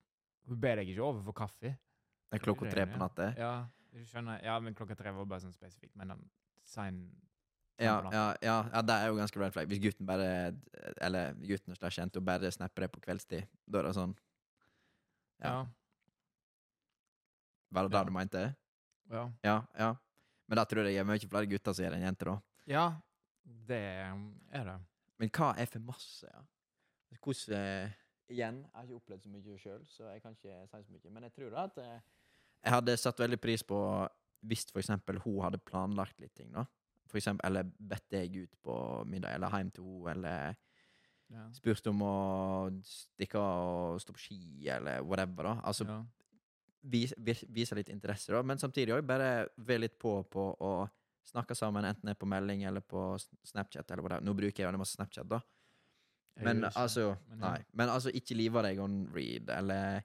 S2: Hun ber deg ikke over for kaffe.
S1: Det er klokka tre på natta?
S2: Ja, du skjønner Ja, men klokka tre var bare sånn spesifikt, men den sein
S1: Ja, ja, ja, ja, det er jo ganske red flag. Hvis gutten bare Eller gutten og slash jenta bare snapper det på kveldstid, da er det sånn
S2: ja.
S1: Ja. Var det
S2: Ja.
S1: det du mente?
S2: ja.
S1: Ja, ja. Men da tror jeg det er mye flere gutter som gjør det enn jenter, da.
S2: Ja, det er det.
S1: Men hva er for masse, ja? Hvordan eh, Igjen, jeg har ikke opplevd så mye sjøl, så jeg kan ikke si så mye. Men jeg tror da at eh, Jeg hadde satt veldig pris på hvis for eksempel hun hadde planlagt litt ting, da. For eksempel, eller bedt deg ut på middag, eller hjem til henne, eller
S2: Ja.
S1: spurt om å stikke og stå på ski, eller whatever, da. Altså
S2: ja.
S1: vis, vir- vise litt interesse, da, men samtidig òg bare være litt på på å snakke sammen, enten det er på melding eller på s- Snapchat. eller whatever. Nå bruker jeg veldig masse Snapchat, da.
S2: Jeg
S1: Men
S2: gjør ikke det,
S1: altså,
S2: men ja.
S1: nei. Men altså, ikke live deg on read, eller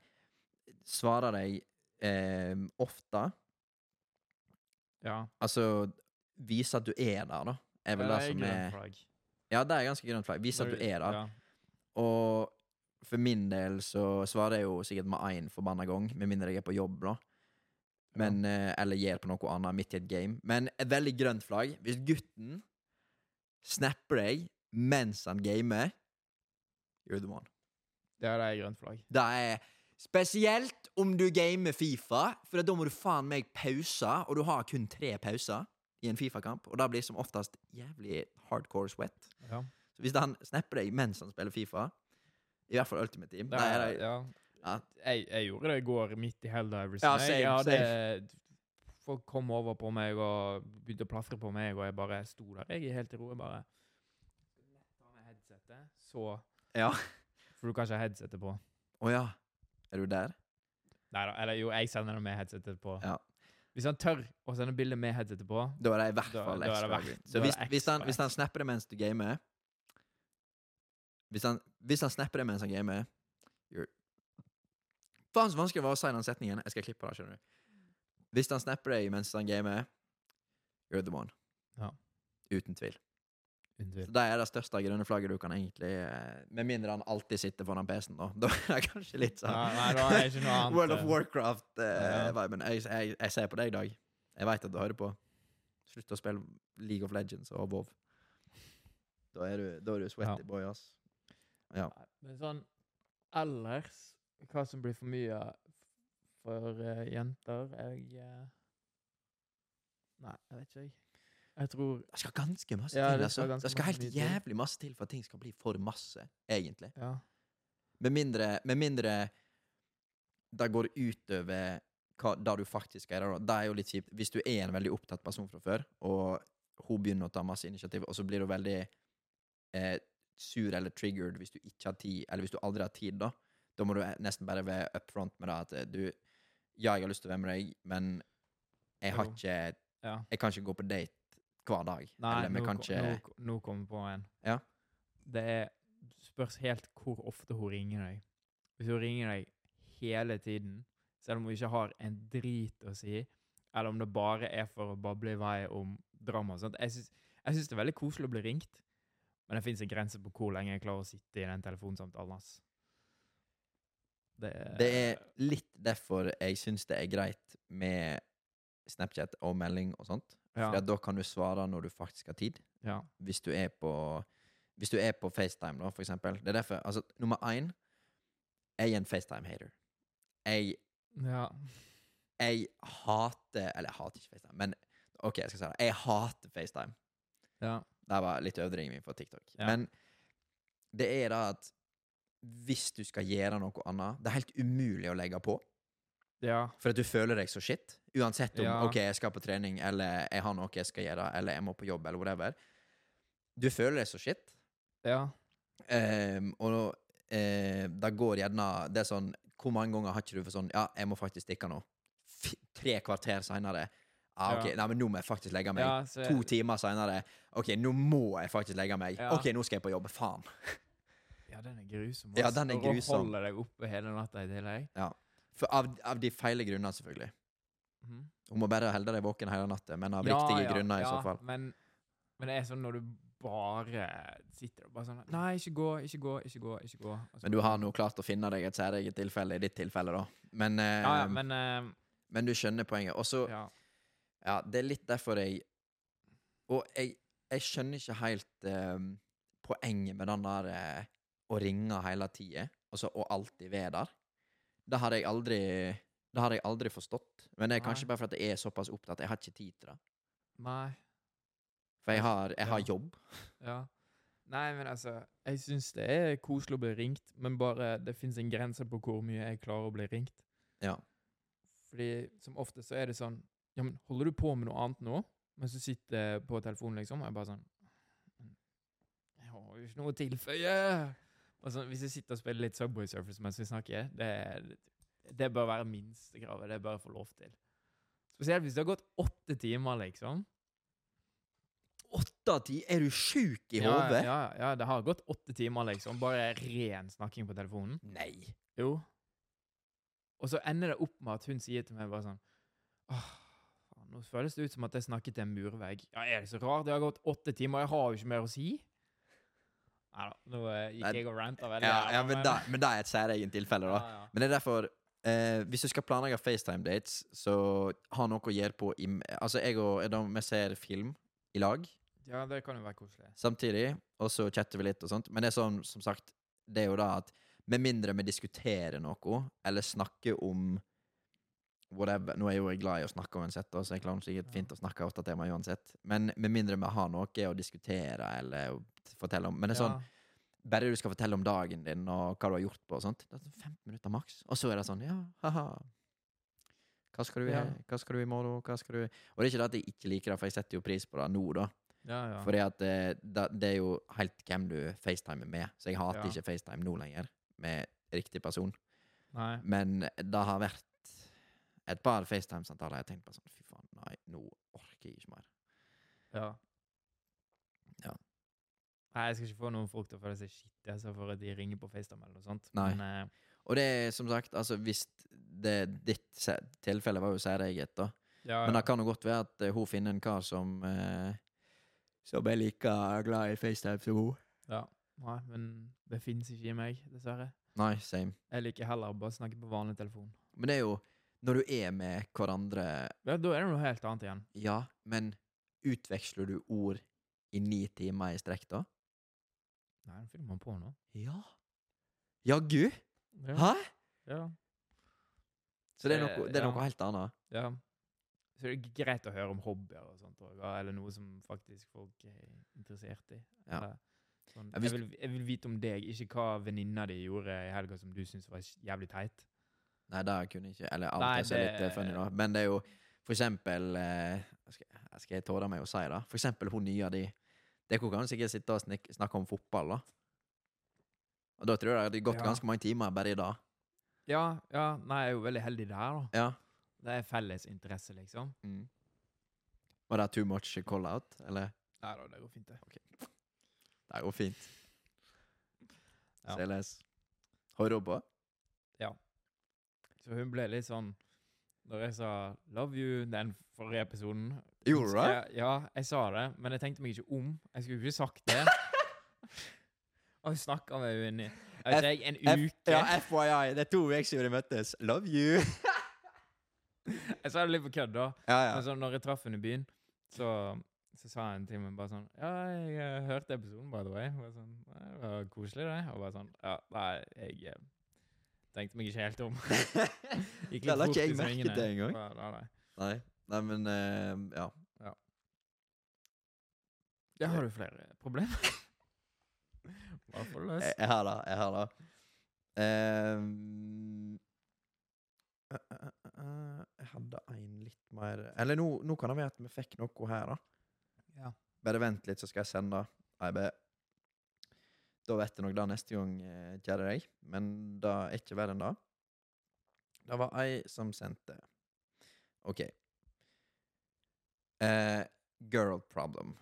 S1: svare deg eh, ofte.
S2: Ja.
S1: Altså, vise at du er der, da. Er vel
S2: Ja,
S1: det som
S2: grønn
S1: er
S2: flagg.
S1: Ja, det er ganske grønt flagg. Vise at du er der.
S2: Ja.
S1: Og for min del så svarer jeg jo sikkert med én forbanna gang, med mindre jeg er på jobb, da. Men, eh, eller gjør på noe annet midt i et game. Men et veldig grønt flagg. Hvis gutten snapper deg mens han gamer, you're the one.
S2: ja, det er grønt flagg.
S1: Det er spesielt om du gamer Fifa, for da må du faen meg pause, og du har kun tre pauser i en Fifa-kamp, og det blir som oftest jævlig hardcore sweat.
S2: Ja.
S1: Så hvis han snapper deg mens han spiller Fifa I hvert fall Ultimate Team.
S2: Det
S1: Nei,
S2: er,
S1: nei,
S2: ja.
S1: Ja.
S2: Jeg, jeg gjorde det i går, midt i Helldivers.
S1: Ja, same,
S2: jeg hadde Folk kom over på meg og begynte å plafre på meg, og jeg bare sto der. Jeg er helt i ro. Jeg bare Ta med headsetet, så
S1: Ja.
S2: For du kan ikke ha headsetet på.
S1: Å ja. Er du der?
S2: Nei da. Eller jo, jeg sender det med headsetet på.
S1: Ja.
S2: Hvis han tør å sende bilde med headsetet på
S1: Da er det i hvert
S2: Da-
S1: fall
S2: da er det
S1: ekstra
S2: verdt-
S1: grunn.
S2: da
S1: Så
S2: er
S1: hvis,
S2: det
S1: hvis, han,
S2: ekstra
S1: hvis han snapper det mens du gamer Hvis han, hvis han snapper det mens han gamer You're Faen så vanskelig det var å si den setningen. Jeg skal klippe det, skjønner du. Hvis han snapper deg mens han gamer You're the one.
S2: Ja.
S1: Uten tvil.
S2: Unnvill.
S1: Så Det er det største grønne flagget du kan egentlig eh, Med mindre han alltid sitter foran PC-en, da. Da er det kanskje litt sånn
S2: Nei, nei, da er det ikke noe annet.
S1: World of
S2: Ja.
S1: Warcraft-viben. jeg, jeg, jeg ser på deg, Dag. Jeg veit at du hører på. Slutt å spille League of Legends og WoW. Da er du, da er du sweaty
S2: Ja.
S1: boy, ass.
S2: Nei, Men sånn ellers Hva som blir for mye for eh, jenter Jeg eh, Nei, jeg vet ikke, jeg. Jeg tror
S1: Det skal ganske masse
S2: Ja,
S1: til.
S2: det skal
S1: Altså.
S2: ganske
S1: det skal
S2: masse
S1: helt
S2: mye til.
S1: jævlig masse til for at ting skal bli for masse, egentlig.
S2: Ja.
S1: Med mindre, med mindre det går utover hva, det du faktisk skal gjøre. da. Det er jo litt kjipt. Hvis du er en veldig opptatt person fra før, og hun begynner å ta masse initiativ, og så blir hun veldig eh, sur eller triggered hvis du ikke har tid, eller hvis du aldri har tid, da. Da må du nesten bare være upfront med det at eh, du Ja, jeg har lyst til å være med deg, men jeg har
S2: Jo.
S1: ikke
S2: Ja.
S1: Jeg kan ikke gå på date hver dag.
S2: Nei,
S1: Eller vi
S2: nå,
S1: kan
S2: ko-
S1: ikke
S2: nå, ko- nå kommer jeg på en.
S1: Ja.
S2: Det er, spørs helt hvor ofte hun ringer deg. Hvis hun ringer deg hele tiden, selv om hun ikke har en drit å si, eller om det bare er for å bable i vei om drama og sånt. Jeg syns, jeg syns det er veldig koselig å bli ringt, men det fins en grense på hvor lenge jeg klarer å sitte i den telefonsamtalen. ass. Det er,
S1: Det er litt derfor jeg syns det er greit med Snapchat og melding og sånt.
S2: ja,
S1: For at da kan du svare når du faktisk har tid.
S2: ja,
S1: hvis du er på Hvis du er på FaceTime, da, for eksempel. Det er derfor, altså, nummer én Jeg er en FaceTime-hater. Jeg,
S2: ja.
S1: jeg hater Eller jeg hater ikke FaceTime, men OK, jeg skal si det. Jeg hater FaceTime.
S2: ja.
S1: Det var litt overdriving min på TikTok.
S2: Ja.
S1: Men det er da at hvis du skal gjøre noe annet Det er helt umulig å legge på.
S2: ja.
S1: For at du føler deg så shit. Uansett om
S2: Ja.
S1: ok, jeg skal på trening, eller jeg har noe jeg skal gjøre, eller jeg må på jobb, eller whatever. Du føler deg så shit.
S2: ja.
S1: Ehm, og eh, da går gjerne Det er sånn Hvor mange ganger har ikke du for sånn Ja, jeg må faktisk stikke nå. F tre kvarter seinere. Ah, ok,
S2: Ja.
S1: Nei, men nå må jeg faktisk legge meg.
S2: ja så-
S1: To timer seinere. OK, nå må jeg faktisk legge meg.
S2: Ja.
S1: OK, nå skal jeg på jobb. Faen.
S2: Ja, den er grusom.
S1: Ja,
S2: ass.
S1: den er
S2: Når du
S1: grusom.
S2: holder deg oppe hele natta i tillegg.
S1: For av, av de feile grunner, selvfølgelig.
S2: Mhm.
S1: Hun må bare holde deg våken hele natta, men av
S2: Ja,
S1: riktige
S2: ja,
S1: grunner, i
S2: ja,
S1: så fall.
S2: Men, men det er sånn når du bare sitter og bare sånn Nei, ikke gå, ikke gå, ikke gå. ikke gå. Og så-
S1: Men du har nå klart å finne deg et særeget tilfelle i ditt tilfelle, da. Men,
S2: Ja, ja,
S1: ehm,
S2: men eh,
S1: men du skjønner poenget. Og så
S2: ja.
S1: Ja, det er litt derfor jeg Og jeg, jeg skjønner ikke helt eh, poenget med den der eh, å ringe hele tida, altså å alltid være der. Det har jeg aldri Det har jeg aldri forstått. Men det er kanskje
S2: Nei.
S1: bare fordi jeg er såpass opptatt. Jeg har ikke tid til det.
S2: Nei.
S1: For jeg har, jeg har
S2: Ja.
S1: jobb.
S2: Ja. Nei, men altså Jeg syns det er koselig å bli ringt, men bare det fins en grense på hvor mye jeg klarer å bli ringt.
S1: Ja.
S2: Fordi som ofte så er det sånn Ja, men holder du på med noe annet nå? Men så sitter jeg på telefonen, liksom, og jeg bare sånn Jeg har jo ikke noe å tilføye! Og sånn, Hvis jeg sitter og spiller litt Subway Surface mens vi snakker, det, det bør være minstekravet. Det bør jeg få lov til. Spesielt hvis det har gått åtte timer, liksom.
S1: Åtte av ti? Er du sjuk i
S2: Ja,
S1: hodet?
S2: Ja, ja, ja, det har gått åtte timer, liksom. Bare ren snakking på telefonen.
S1: Nei.
S2: Jo. Og så ender det opp med at hun sier til meg bare sånn Åh, faen, nå føles det ut som at jeg snakket til en murvegg. Ja, er det så rart? Det har gått åtte timer, jeg har jo ikke mer å si. Nei da, nå eh, gikk
S1: Nei,
S2: jeg og ranta veldig.
S1: Ja,
S2: her,
S1: ja, men det men det er et særegent tilfelle, da.
S2: ja, ja.
S1: Men det er derfor eh, Hvis du skal planlegge FaceTime-dates, så ha noe å gjøre på i, Altså, jeg og da, vi ser film i lag
S2: ja, det kan jo være koselig.
S1: samtidig, og så chatter vi litt og sånt. Men det er sånn, som sagt, det er jo da at med mindre vi diskuterer noe, eller snakker om whatever Nå er jo jeg glad i å snakke uansett, da, så jeg klarer sikkert
S2: Ja.
S1: fint å snakke ofte tema uansett. Men med mindre vi har noe å diskutere eller å fortelle om Men det er sånn bare du skal fortelle om dagen din og hva du har gjort på og sånt. Det er sånn 15 minutter maks. Og så er det sånn, ja, haha. Hva skal du,
S2: Ja.
S1: hva skal du i morgen? Hva skal du Og det er ikke det at jeg ikke liker det, for jeg setter jo pris på det nå, da.
S2: Ja, ja. ja.
S1: Fordi at eh, det, det er jo helt hvem du facetimer med. Så jeg hater
S2: Ja.
S1: ikke FaceTime nå lenger, med riktig person.
S2: Nei.
S1: Men det har vært et par FaceTime-samtaler jeg har tenkt på sånn, fy faen, nei, nå orker jeg ikke mer.
S2: Ja.
S1: Ja.
S2: Nei, jeg skal ikke få noen folk til å føle seg skitt altså, for at de ringer på FaceTime eller noe sånt.
S1: Nei.
S2: Men, eh,
S1: Og det er som sagt, altså hvis det ditt se- tilfelle var jo særeget, da.
S2: ja,
S1: Men
S2: ja.
S1: det kan jo godt være at eh, hun finner en kar som eh, Som er like glad i FaceTime som hun.
S2: Nei, men det fins ikke i meg, dessverre.
S1: Nei, same.
S2: Jeg liker heller å bare snakke på vanlig telefon.
S1: Men det er jo når du er med hverandre
S2: Ja, Da er det noe helt annet igjen.
S1: Ja, men utveksler du ord i ni timer i strekk, da?
S2: Nei, nå fyller man på nå.
S1: Ja. Jaggu?
S2: Ja.
S1: Hæ?
S2: Ja.
S1: Så det er
S2: Eh,
S1: noe, det er
S2: ja.
S1: noe helt annet.
S2: ja. Så det er greit å høre om hobbyer og sånt òg, eller noe som faktisk folk er interessert i.
S1: Ja.
S2: Eller Sånn,
S1: Ja,
S2: jeg,
S1: hvis-
S2: vil, jeg vil vite om deg, ikke hva venninna di gjorde i helga som du syntes var jævlig teit.
S1: Nei, det kunne jeg ikke Eller alt
S2: Nei,
S1: er så
S2: det-
S1: litt eh, funny, da. Men det er jo for eksempel eh, Skal, skal jeg tåle meg å si det? For eksempel hun nye di. Det kunne kanskje ikke sitte og snik- snakke om fotball, da. Og da tror jeg det hadde gått
S2: Ja.
S1: ganske mange timer bare i dag.
S2: Ja, ja, nei, jeg er jo veldig heldig der, da.
S1: Ja.
S2: Det er felles interesse, liksom.
S1: Mm. Var det too much call-out, eller?
S3: Nei da, det går fint, det.
S1: Det går fint.
S3: Ja.
S1: CLS. Hører du på?
S2: Så hun ble litt sånn Når jeg sa 'love you' den forrige episoden
S1: Gjorde du det?
S2: jeg, Ja, jeg sa det, men jeg tenkte meg ikke om. Jeg skulle ikke sagt det. Og hun snakka med henne i jeg vet ikke, en
S1: F-
S2: uke.
S1: Ja, FYI. Det er to uker siden vi møttes. Love you!
S2: Jeg sa det litt på kødd, da.
S1: Ja,
S2: Men
S1: ja.
S2: så når jeg traff henne i byen, så, så sa han til meg bare sånn Ja, jeg eh, hørte episoden, by the way. Og jeg sånn, «Ja, det var koselig, det. Og bare sånn Ja, nei, jeg eh, tenkte meg ikke helt om. Gikk
S1: Det la
S2: fort
S1: ikke jeg
S2: i
S1: merke
S2: svingene.
S1: til engang.
S2: Ja, Nei, nei.
S1: Nei, Nei men eh, ja.
S2: Ja, har du flere problemer? Eh, Hva får du
S1: Jeg,
S2: løst?
S1: jeg har det. Jeg har det. Ehm, eh, eh, eh, eh, jeg hadde en litt mer Eller nå, nå kan det være at vi fikk noe her, da.
S2: Ja.
S1: Bare vent litt, så skal jeg sende det. Jeg be- Da vet jeg nok det neste gang, eh, kjære deg. Men det er ikke verre enn det. Det var ei som sendte. OK. Eh, girl problem.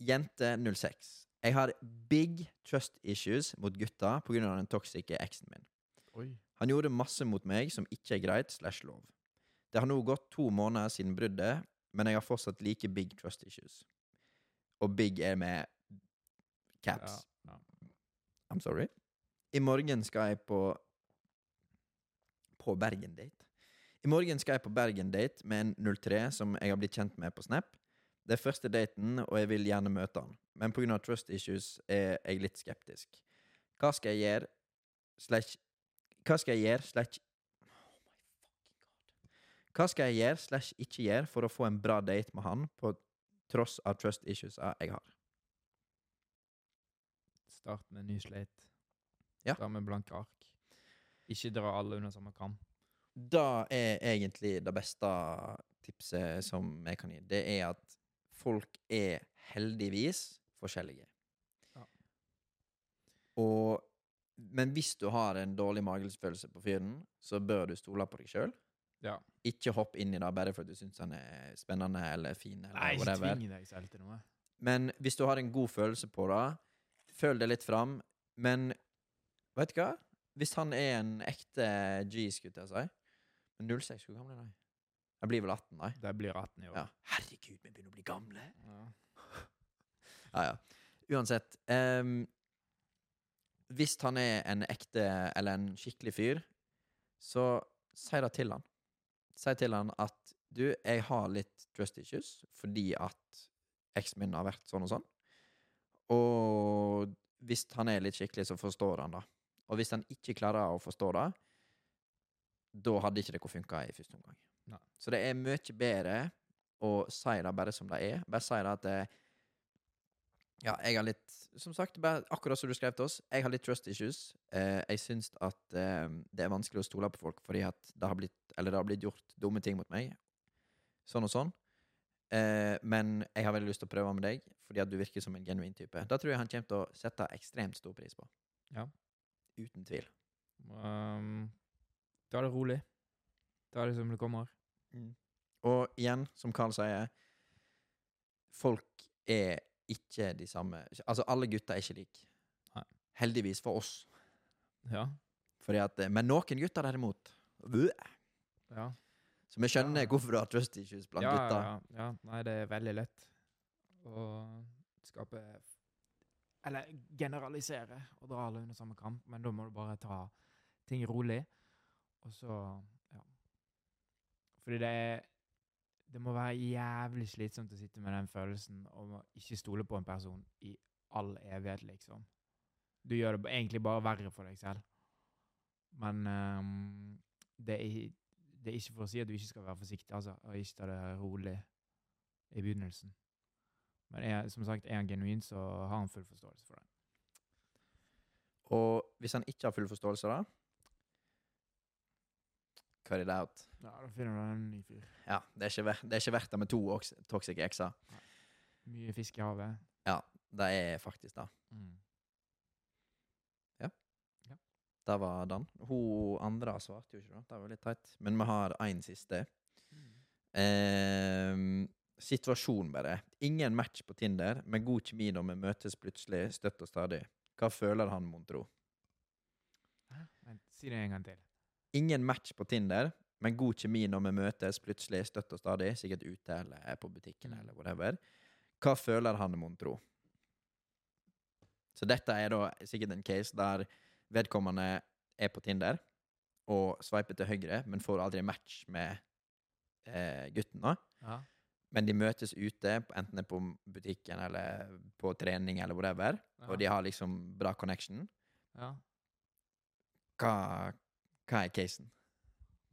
S1: Jente 06. Jeg har big trust issues mot gutta pga. den toksiske eksen min.
S2: Oi.
S1: Han gjorde masse mot meg som ikke er greit slash lov. Det har nå gått to måneder siden bruddet, men jeg har fortsatt like big trust issues. Og big er med caps.
S2: Ja, ja.
S1: I'm sorry. I morgen skal jeg på På Bergen-date. I morgen skal jeg på Bergen-date med en 03 som jeg har blitt kjent med på Snap. Det er første daten, og jeg vil gjerne møte han, men pga. trust issues er jeg litt skeptisk. Hva skal jeg gjøre slash Hva skal jeg gjøre slash oh Hva skal jeg gjøre slash ikke gjøre for å få en bra date med han, på tross av trust issues jeg har?
S2: Start med en ny slate.
S1: Ja.
S2: Start med blanke ark. Ikke dra alle under samme kam.
S1: Det er egentlig det beste tipset som jeg kan gi. Det er at folk er heldigvis forskjellige.
S2: Ja.
S1: Og Men hvis du har en dårlig magefølelse på fyren, så bør du stole på deg sjøl.
S2: Ja.
S1: Ikke hopp inn i det bare fordi du syns han er spennende eller fin. Eller
S2: Nei, ikke
S1: whatever.
S2: tving deg selv til noe.
S1: Men hvis du har en god følelse på det, føl det litt fram. Men vet du hva? Hvis han er en ekte G, skulle jeg til å si Men 06, hvor gammel er de? De blir vel 18, nei?
S2: Det blir 18 i år.
S1: Ja. Herregud, vi begynner å bli gamle!
S2: Ja.
S1: Ja, ja. Uansett ehm, Hvis han er en ekte eller en skikkelig fyr, så si det til han. Si til han at du, jeg har litt trust issues fordi at eksen min har vært sånn og sånn. Og hvis han er litt skikkelig, så forstår han det. Og hvis han ikke klarer å forstå det, da hadde ikke det funka i første omgang.
S2: Nei.
S1: Så det er mye bedre å si det bare som det er. Bare si det at det, ja, jeg har litt Som sagt, bare akkurat som du skrev til oss, jeg har litt trust issues. Eh, jeg syns at eh, det er vanskelig å stole på folk fordi at det har blitt Eller det har blitt gjort dumme ting mot meg. Sånn og sånn. Eh, men jeg har veldig lyst til å prøve med deg, fordi at du virker som en genuin type. Da tror jeg han kommer til å sette ekstremt stor pris på.
S2: Ja.
S1: Uten tvil.
S2: Um, ta det rolig. Ta det som det kommer.
S1: Og igjen, som Carl sier, folk er ikke de samme Altså, alle gutter er ikke like.
S2: Nei.
S1: Heldigvis for oss.
S2: Ja.
S1: Fordi at, eh, men noen gutter derimot Bø.
S2: Ja.
S1: Så vi skjønner
S2: Ja.
S1: hvorfor du har trust issues blant
S2: ja,
S1: gutter.
S2: ja, ja. Nei, det er veldig lett å skape Eller generalisere og dra alle under samme kamp, men da må du bare ta ting rolig, og så Ja. Fordi det er Det må være jævlig slitsomt å sitte med den følelsen om å ikke stole på en person i all evighet, liksom. Du gjør det ba- egentlig bare verre for deg selv. Men ehm, det er det er ikke for å si at du ikke skal være forsiktig, altså, og ikke ta det rolig i begynnelsen. Men er, som sagt, er han genuin, så har han full forståelse for det.
S1: Og hvis han ikke har full forståelse, da Cut it out.
S2: Ja, Da finner du en ny fyr.
S1: Ja, det er ikke, ver det er ikke verdt det med to oks- toxic ekser.
S2: Mye fisk i havet.
S1: Det er faktisk det.
S2: Mm.
S1: Det var Dan. Hun andre svarte jo ikke, da. Det var litt teit. Men vi har én siste. Ehm, Situasjon, bare. Ingen match på Tinder, men god kjemi når vi møtes plutselig, støtt og stadig. Hva føler han, mon tro?
S2: Hæ? Vent, Si det en gang til.
S1: Ingen match på Tinder, men god kjemi når vi møtes plutselig, støtt og stadig, sikkert ute eller på butikken eller whatever. Hva føler han, mon tro? Så dette er da sikkert en case der vedkommende er på Tinder og sveiper til høyre, men får aldri match med eh, gutten, da.
S2: Ja.
S1: Men de møtes ute, på- enten det er på butikken eller på trening eller whatever, og de har liksom bra connection.
S2: ja.
S1: Hva, hva er casen?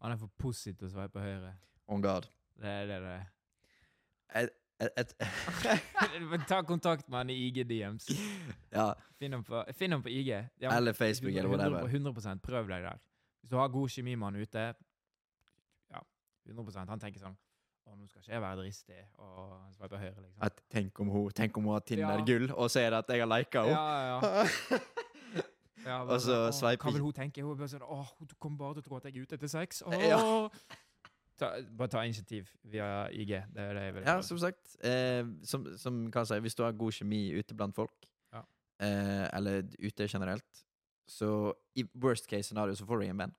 S2: Han er for positiv til å sveipe høyre.
S1: On God.
S2: Det er det det er.
S1: Et, et,
S2: Men Ta kontakt med han i IG-DMs.
S1: ja,
S2: Finn ham på, finn ham på IG. Ja, men
S1: eller Facebook eller
S2: 100
S1: whatever.
S2: 100 prøv deg der. Hvis du har god kjemi med han ute Ja, 100 Han tenker sånn Å, nå skal ikke jeg være dristig og han sveiper høyre, liksom.
S1: At tenk om hun Tenk om hun har
S2: Ja.
S1: Tinder-gull, og ser at jeg har lika
S2: ja,
S1: henne.
S2: ja, ja. ja bare
S1: Og så
S2: sånn, «Åh,
S1: sveiper-
S2: Hva vil hun tenke? Hun er bare sånn Å, hun kommer bare til å tro at jeg er ute etter sex. Åh!»
S1: Ja.
S2: Ta, bare ta initiativ via IG. Det er det jeg vil
S1: Ja, som sagt. Eh, som, som kan si, hvis du har god kjemi ute blant folk,
S2: Ja.
S1: eh, eller ute generelt, så i worst case scenario så får du ingen venn.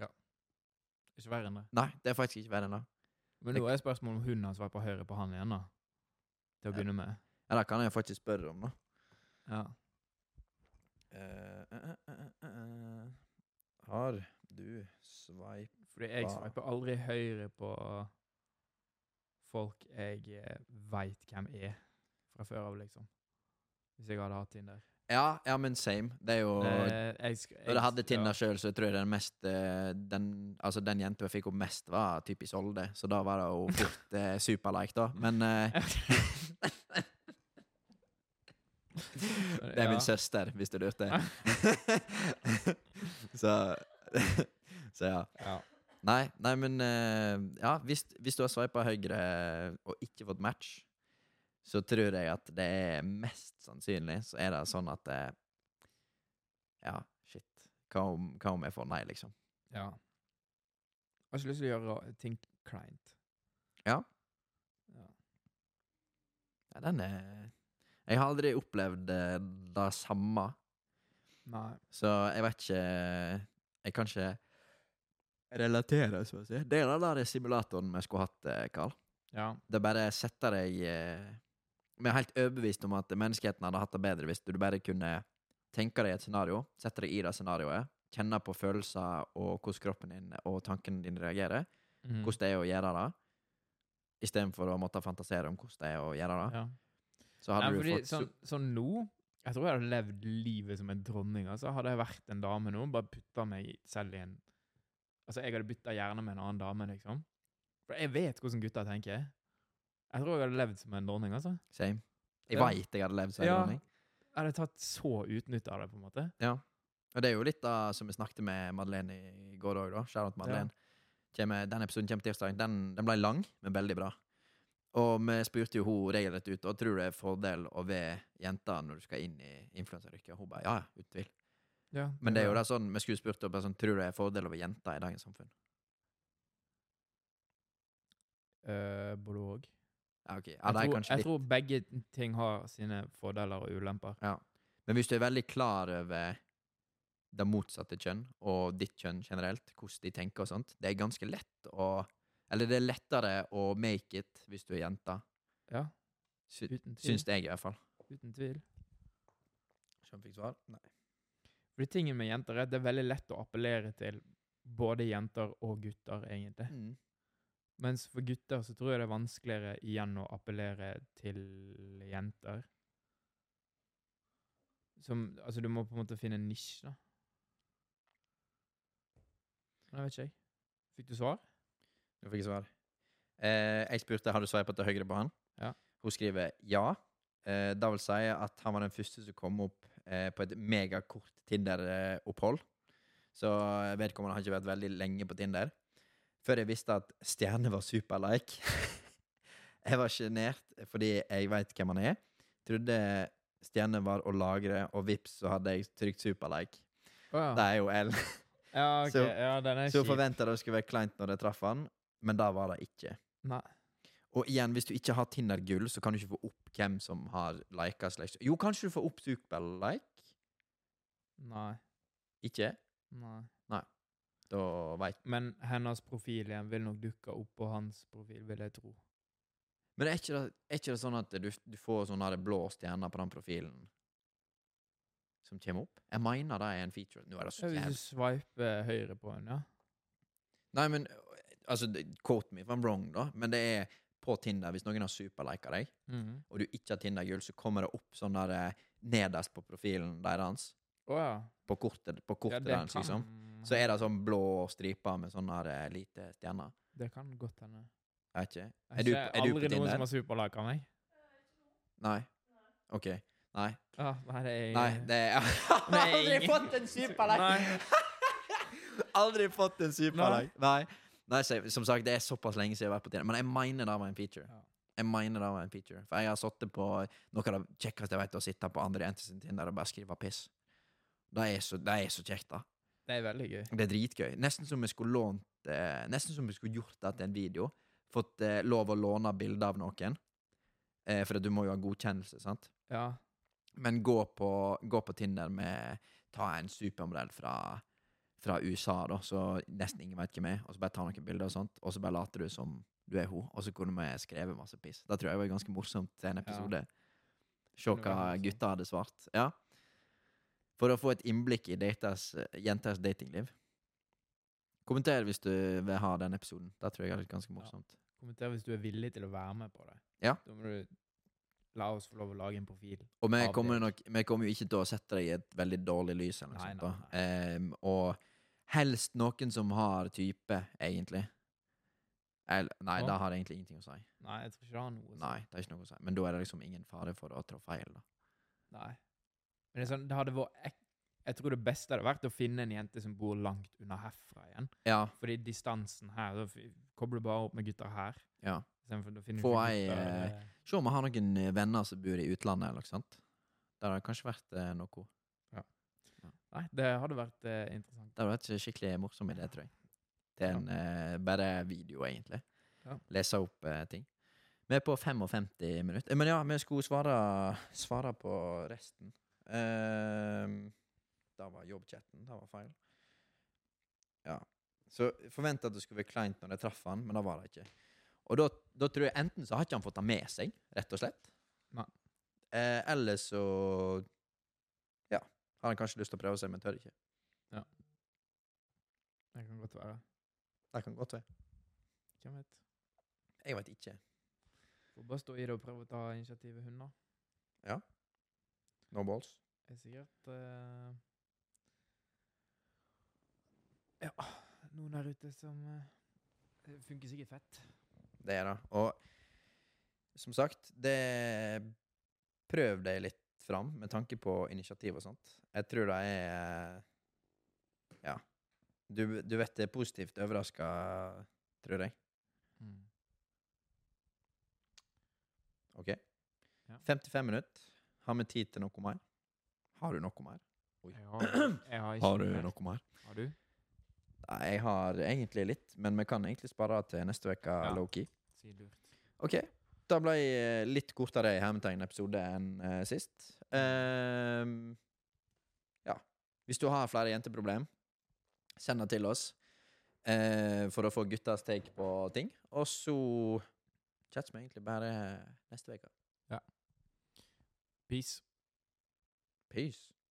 S2: Ikke verre enn det.
S1: Nei, det er faktisk ikke verre enn det.
S2: Men nå er spørsmålet om hun har sveipa høyre på han igjen, da. Til å
S1: Ja.
S2: begynne med.
S1: Ja, det kan jeg faktisk spørre om, da.
S2: Ja.
S1: Eh, eh, eh, eh, eh. Har du sveip
S2: Fordi jeg
S1: Hva?
S2: sveiper aldri høyre på folk jeg eh, veit hvem er fra før av, liksom. Hvis jeg hadde hatt Tinder.
S1: ja, ja, men same. Det er jo
S2: Eh, jeg sk-
S1: Når jeg hadde Tinder
S2: ja.
S1: sjøl, så tror jeg den mest eh, Den, altså den jenta jeg fikk opp mest, var typisk Olde, så da var det jo fort eh, superlike, da. Men eh, Det er
S2: Ja.
S1: min søster, hvis du lurte. så Så ja.
S3: Ja.
S1: Nei, nei men eh, Ja, hvis, hvis du har sveipa høyre og ikke fått match, så tror jeg at det er mest sannsynlig så er det sånn at eh, Ja, shit. Hva om, hva om jeg får nei, liksom?
S2: Ja. Jeg har ikke lyst til å gjøre ra- ting kleint.
S1: Ja, den er Jeg har aldri opplevd eh, det samme,
S2: Nei.
S1: så jeg vet ikke Jeg kan ikke relatere, så å si. Det er den der simulatoren vi skulle hatt, eh, Karl.
S2: Ja.
S1: Det bare setter deg eh, Vi er helt overbevist om at menneskeheten hadde hatt det bedre hvis du bare kunne tenke deg et scenario, sette deg i det scenarioet, kjenne på følelser og hvordan kroppen din og tankene dine reagerer,
S2: Mm.
S1: hvordan det er å gjøre det, istedenfor å måtte fantasere om hvordan det er å gjøre det.
S2: ja.
S1: Så hadde
S2: Nei,
S1: du
S2: fordi,
S1: fått
S2: sånn, sånn nå Jeg tror jeg hadde levd livet som en dronning. Altså. Hadde jeg vært en dame nå, bare putta meg selv i en Altså, jeg hadde bytta hjerne med en annen dame, liksom. For jeg vet hvordan gutter tenker. Jeg tror jeg hadde levd som en dronning, altså.
S1: Same. Jeg
S2: Ja.
S1: veit jeg hadde levd sånn.
S2: Ja.
S1: Ronny.
S2: Jeg hadde tatt så utnytt av det, på en måte.
S1: Og det er jo litt da som vi snakket med Madeleine i går òg, da. Shout out Madeleine. Kjeme- den episoden kommer tirsdag. Den, den ble lang, men veldig bra. Og vi spurte jo hun regelrett ut, og tror du det er fordel å være jenta når du skal inn i influenseryrket? Hun bare ja, ja, uten tvil.
S2: Ja,
S1: Men det er jo da sånn, vi skulle spurt henne sånn, tror du det er fordel å være jenta i dagens samfunn?
S2: Eh, både og.
S1: Ja, ok. Ja, det
S2: jeg,
S1: er
S2: tror,
S1: kanskje
S2: jeg
S1: litt.
S2: tror begge ting har sine fordeler og ulemper.
S1: Men hvis du er veldig klar over det motsatte kjønn, og ditt kjønn generelt, hvordan de tenker og sånt, det er ganske lett å Eller det er lettere å make it hvis du er jente,
S2: Ja,
S1: sy
S2: uten tvil.
S1: syns jeg i hvert fall.
S2: Uten tvil.
S1: Kjempefiksvar? Nei.
S2: Fordi tingen med jenter er at det er veldig lett å appellere til både jenter og gutter, egentlig.
S1: Mm.
S2: Mens for gutter så tror jeg det er vanskeligere igjen å appellere til jenter. Som Altså, du må på en måte finne en nisje, da. Men jeg vet ikke, jeg. Fikk du svar?
S1: Du fikk svar. Eh, jeg spurte har du sveipet til høyre på han.
S2: Ja.
S1: Hun skriver ja. Eh, det vil si at han var den første som kom opp eh, på et megakort Tinder-opphold. Så vedkommende har ikke vært veldig lenge på Tinder. Før jeg visste at Stjerne var superlike. jeg var sjenert fordi jeg veit hvem han er. Trodde Stjerne var å lagre, og vips, så hadde jeg trykt superlike.
S2: Å
S1: Det
S2: ja.
S1: er jo L.
S2: Ja, ok.
S1: Så-
S2: ja, den er
S1: Så
S2: kjip.
S1: forventa det skulle være kleint når jeg traff han, men det var det ikke.
S2: Nei.
S1: Og igjen, hvis du ikke har Tinder-gull, så kan du ikke få opp hvem som har lika slash Jo, kanskje du får opp Superbell-like?
S2: Nei.
S1: Ikke?
S2: Nei.
S1: Da veit
S2: Men hennes profil igjen vil nok dukke opp på hans profil, vil jeg tro.
S1: Men er ikke det, er ikke det sånn at du, du får sånne her blå stjerner på den profilen som kommer opp? Jeg mener det er en feature. Nå er det så
S2: Hvis du
S1: jævlig.
S2: sveiper høyre på henne, ja.
S1: Nei, men altså, det- quote me if I'm wrong, da, men det er på Tinder, hvis noen har superlika deg, og du ikke har Tinder-gull, så kommer det opp sånn der eh, nederst på profilen deres,
S2: Å ja.
S1: på kortet, på
S2: ja.
S1: kortet deres, liksom. Så er det sånn blå striper med sånne her eh, lite stjerner.
S2: Det kan godt hende.
S1: Jeg vet ikke. Er
S2: Jeg
S1: du på-
S2: ser
S1: er du på
S2: aldri noen
S1: Tinder?
S2: som har superlaka meg.
S1: Nei? OK. Nei.
S2: Ah, nei, det er
S1: Nei, det er Aldri
S2: Nei.
S1: fått en
S2: Nei.
S1: superlike! Aldri fått en superlike. Nei. Nei, så, som sagt, det er såpass lenge siden jeg har vært på Tinder. Men jeg mener det var en feature.
S2: Ja.
S1: Jeg mener det var en feature For jeg har sittet på noe av det kjekkeste jeg vet, å sitte på andre jenter sin Tinder og bare skrive piss. Det er så, det er så kjekt, da.
S2: Det er veldig gøy.
S1: Det er dritgøy. Nesten som vi skulle lånt eh, Nesten som vi skulle gjort det til en video. Fått eh, lov å låne bilder av noen. Eh, for at du må jo ha godkjennelse, sant?
S2: Ja.
S1: Men gå på, gå på Tinder med Ta en supermodell fra, fra USA, da, så nesten ingen vet hvem er, og så bare ta noen bilder og sånt, og så bare later du som du er hun, og så kunne vi skrevet masse piss. Det tror jeg var ganske morsomt til en episode. Se
S2: Det var
S1: hva
S2: morsomt.
S1: gutta hadde svart. Ja. For å få et innblikk i daters, jenters datingliv. Kommenter hvis du vil ha den episoden. Det tror jeg er litt ganske morsomt.
S2: Kommenter hvis du er villig til å være med på det.
S1: Ja.
S2: Da må du la oss få lov å lage en profil.
S1: Og vi
S2: av
S1: kommer,
S2: det.
S1: nok, vi kommer jo ikke til å sette deg i et veldig dårlig lys. Eller noe
S2: Nei,
S1: sånt,
S2: nei,
S1: da. Ehm, og helst noen som har type, egentlig. El, nei,
S2: Ja.
S1: det har egentlig ingenting å si.
S2: Nei, jeg tror ikke det har noe å si.
S1: Nei, det er ikke noe å si. Men da er det liksom ingen fare for å trå feil. da.
S2: Nei. Men det, er sånn, det hadde vært ek Jeg tror det beste hadde vært å finne en jente som bor langt unna herfra igjen.
S1: Ja,
S2: Fordi distansen her Da f- kobler du bare opp med gutter her.
S1: ja.
S2: Istedenfor da finner du
S1: Få
S2: ikke
S1: ei,
S2: gutter,
S1: eh,
S2: eller-
S1: Se om vi har noen eh, venner som bor i utlandet. eller noe sånt. Det hadde kanskje vært eh, noe.
S2: Nei, det hadde vært eh, interessant.
S1: Det hadde vært en skikkelig morsom idé, tror jeg. Til en eh, bare video, egentlig.
S2: Ja.
S1: Lese opp eh, ting. Vi er på 55 minutter. Eh, Men ja, vi skulle svare, svare på resten. Ehm, da var jobbchatten. Det var feil. Ja. Så forventa at det skulle være kleint når jeg traff han, men det var det ikke. Og da, da tror jeg enten så har ikke han fått det med seg, rett og slett.
S2: Nei.
S1: Eh, eller så Ja. Har han kanskje lyst til å prøve seg, men tør ikke.
S2: Det kan godt være.
S1: Det kan godt være.
S2: Hvem vet.
S1: Jeg veit ikke.
S2: Får bare stå i det og prøve å ta initiativet, hun, da.
S1: No balls.
S2: er sikkert eh, Ja, noen her ute som eh, det funker sikkert fett.
S1: Det er det. Og som sagt, det Prøv deg litt fram med tanke på initiativ og sånt. Jeg tror det er Ja. Du, du vet det er positivt overraska, tror jeg. OK?
S4: Ja.
S1: 55 minutter. Har vi tid til noe mer? Har du noe mer?
S4: Jeg har, jeg har, ikke mer.
S1: mer?
S4: Har du?
S1: Nei, jeg har egentlig litt, men vi kan egentlig spare til neste uke,
S4: Ja.
S1: low-key.
S4: Si lurt.
S1: Ok, da ble eh, litt kortere i hermetegn episode enn eh, sist. Ehm, ja, hvis du har flere jenteproblem, send det til oss eh, for å få guttas take på ting. Og så chats vi egentlig bare neste uke.
S4: Peace.
S1: Peace.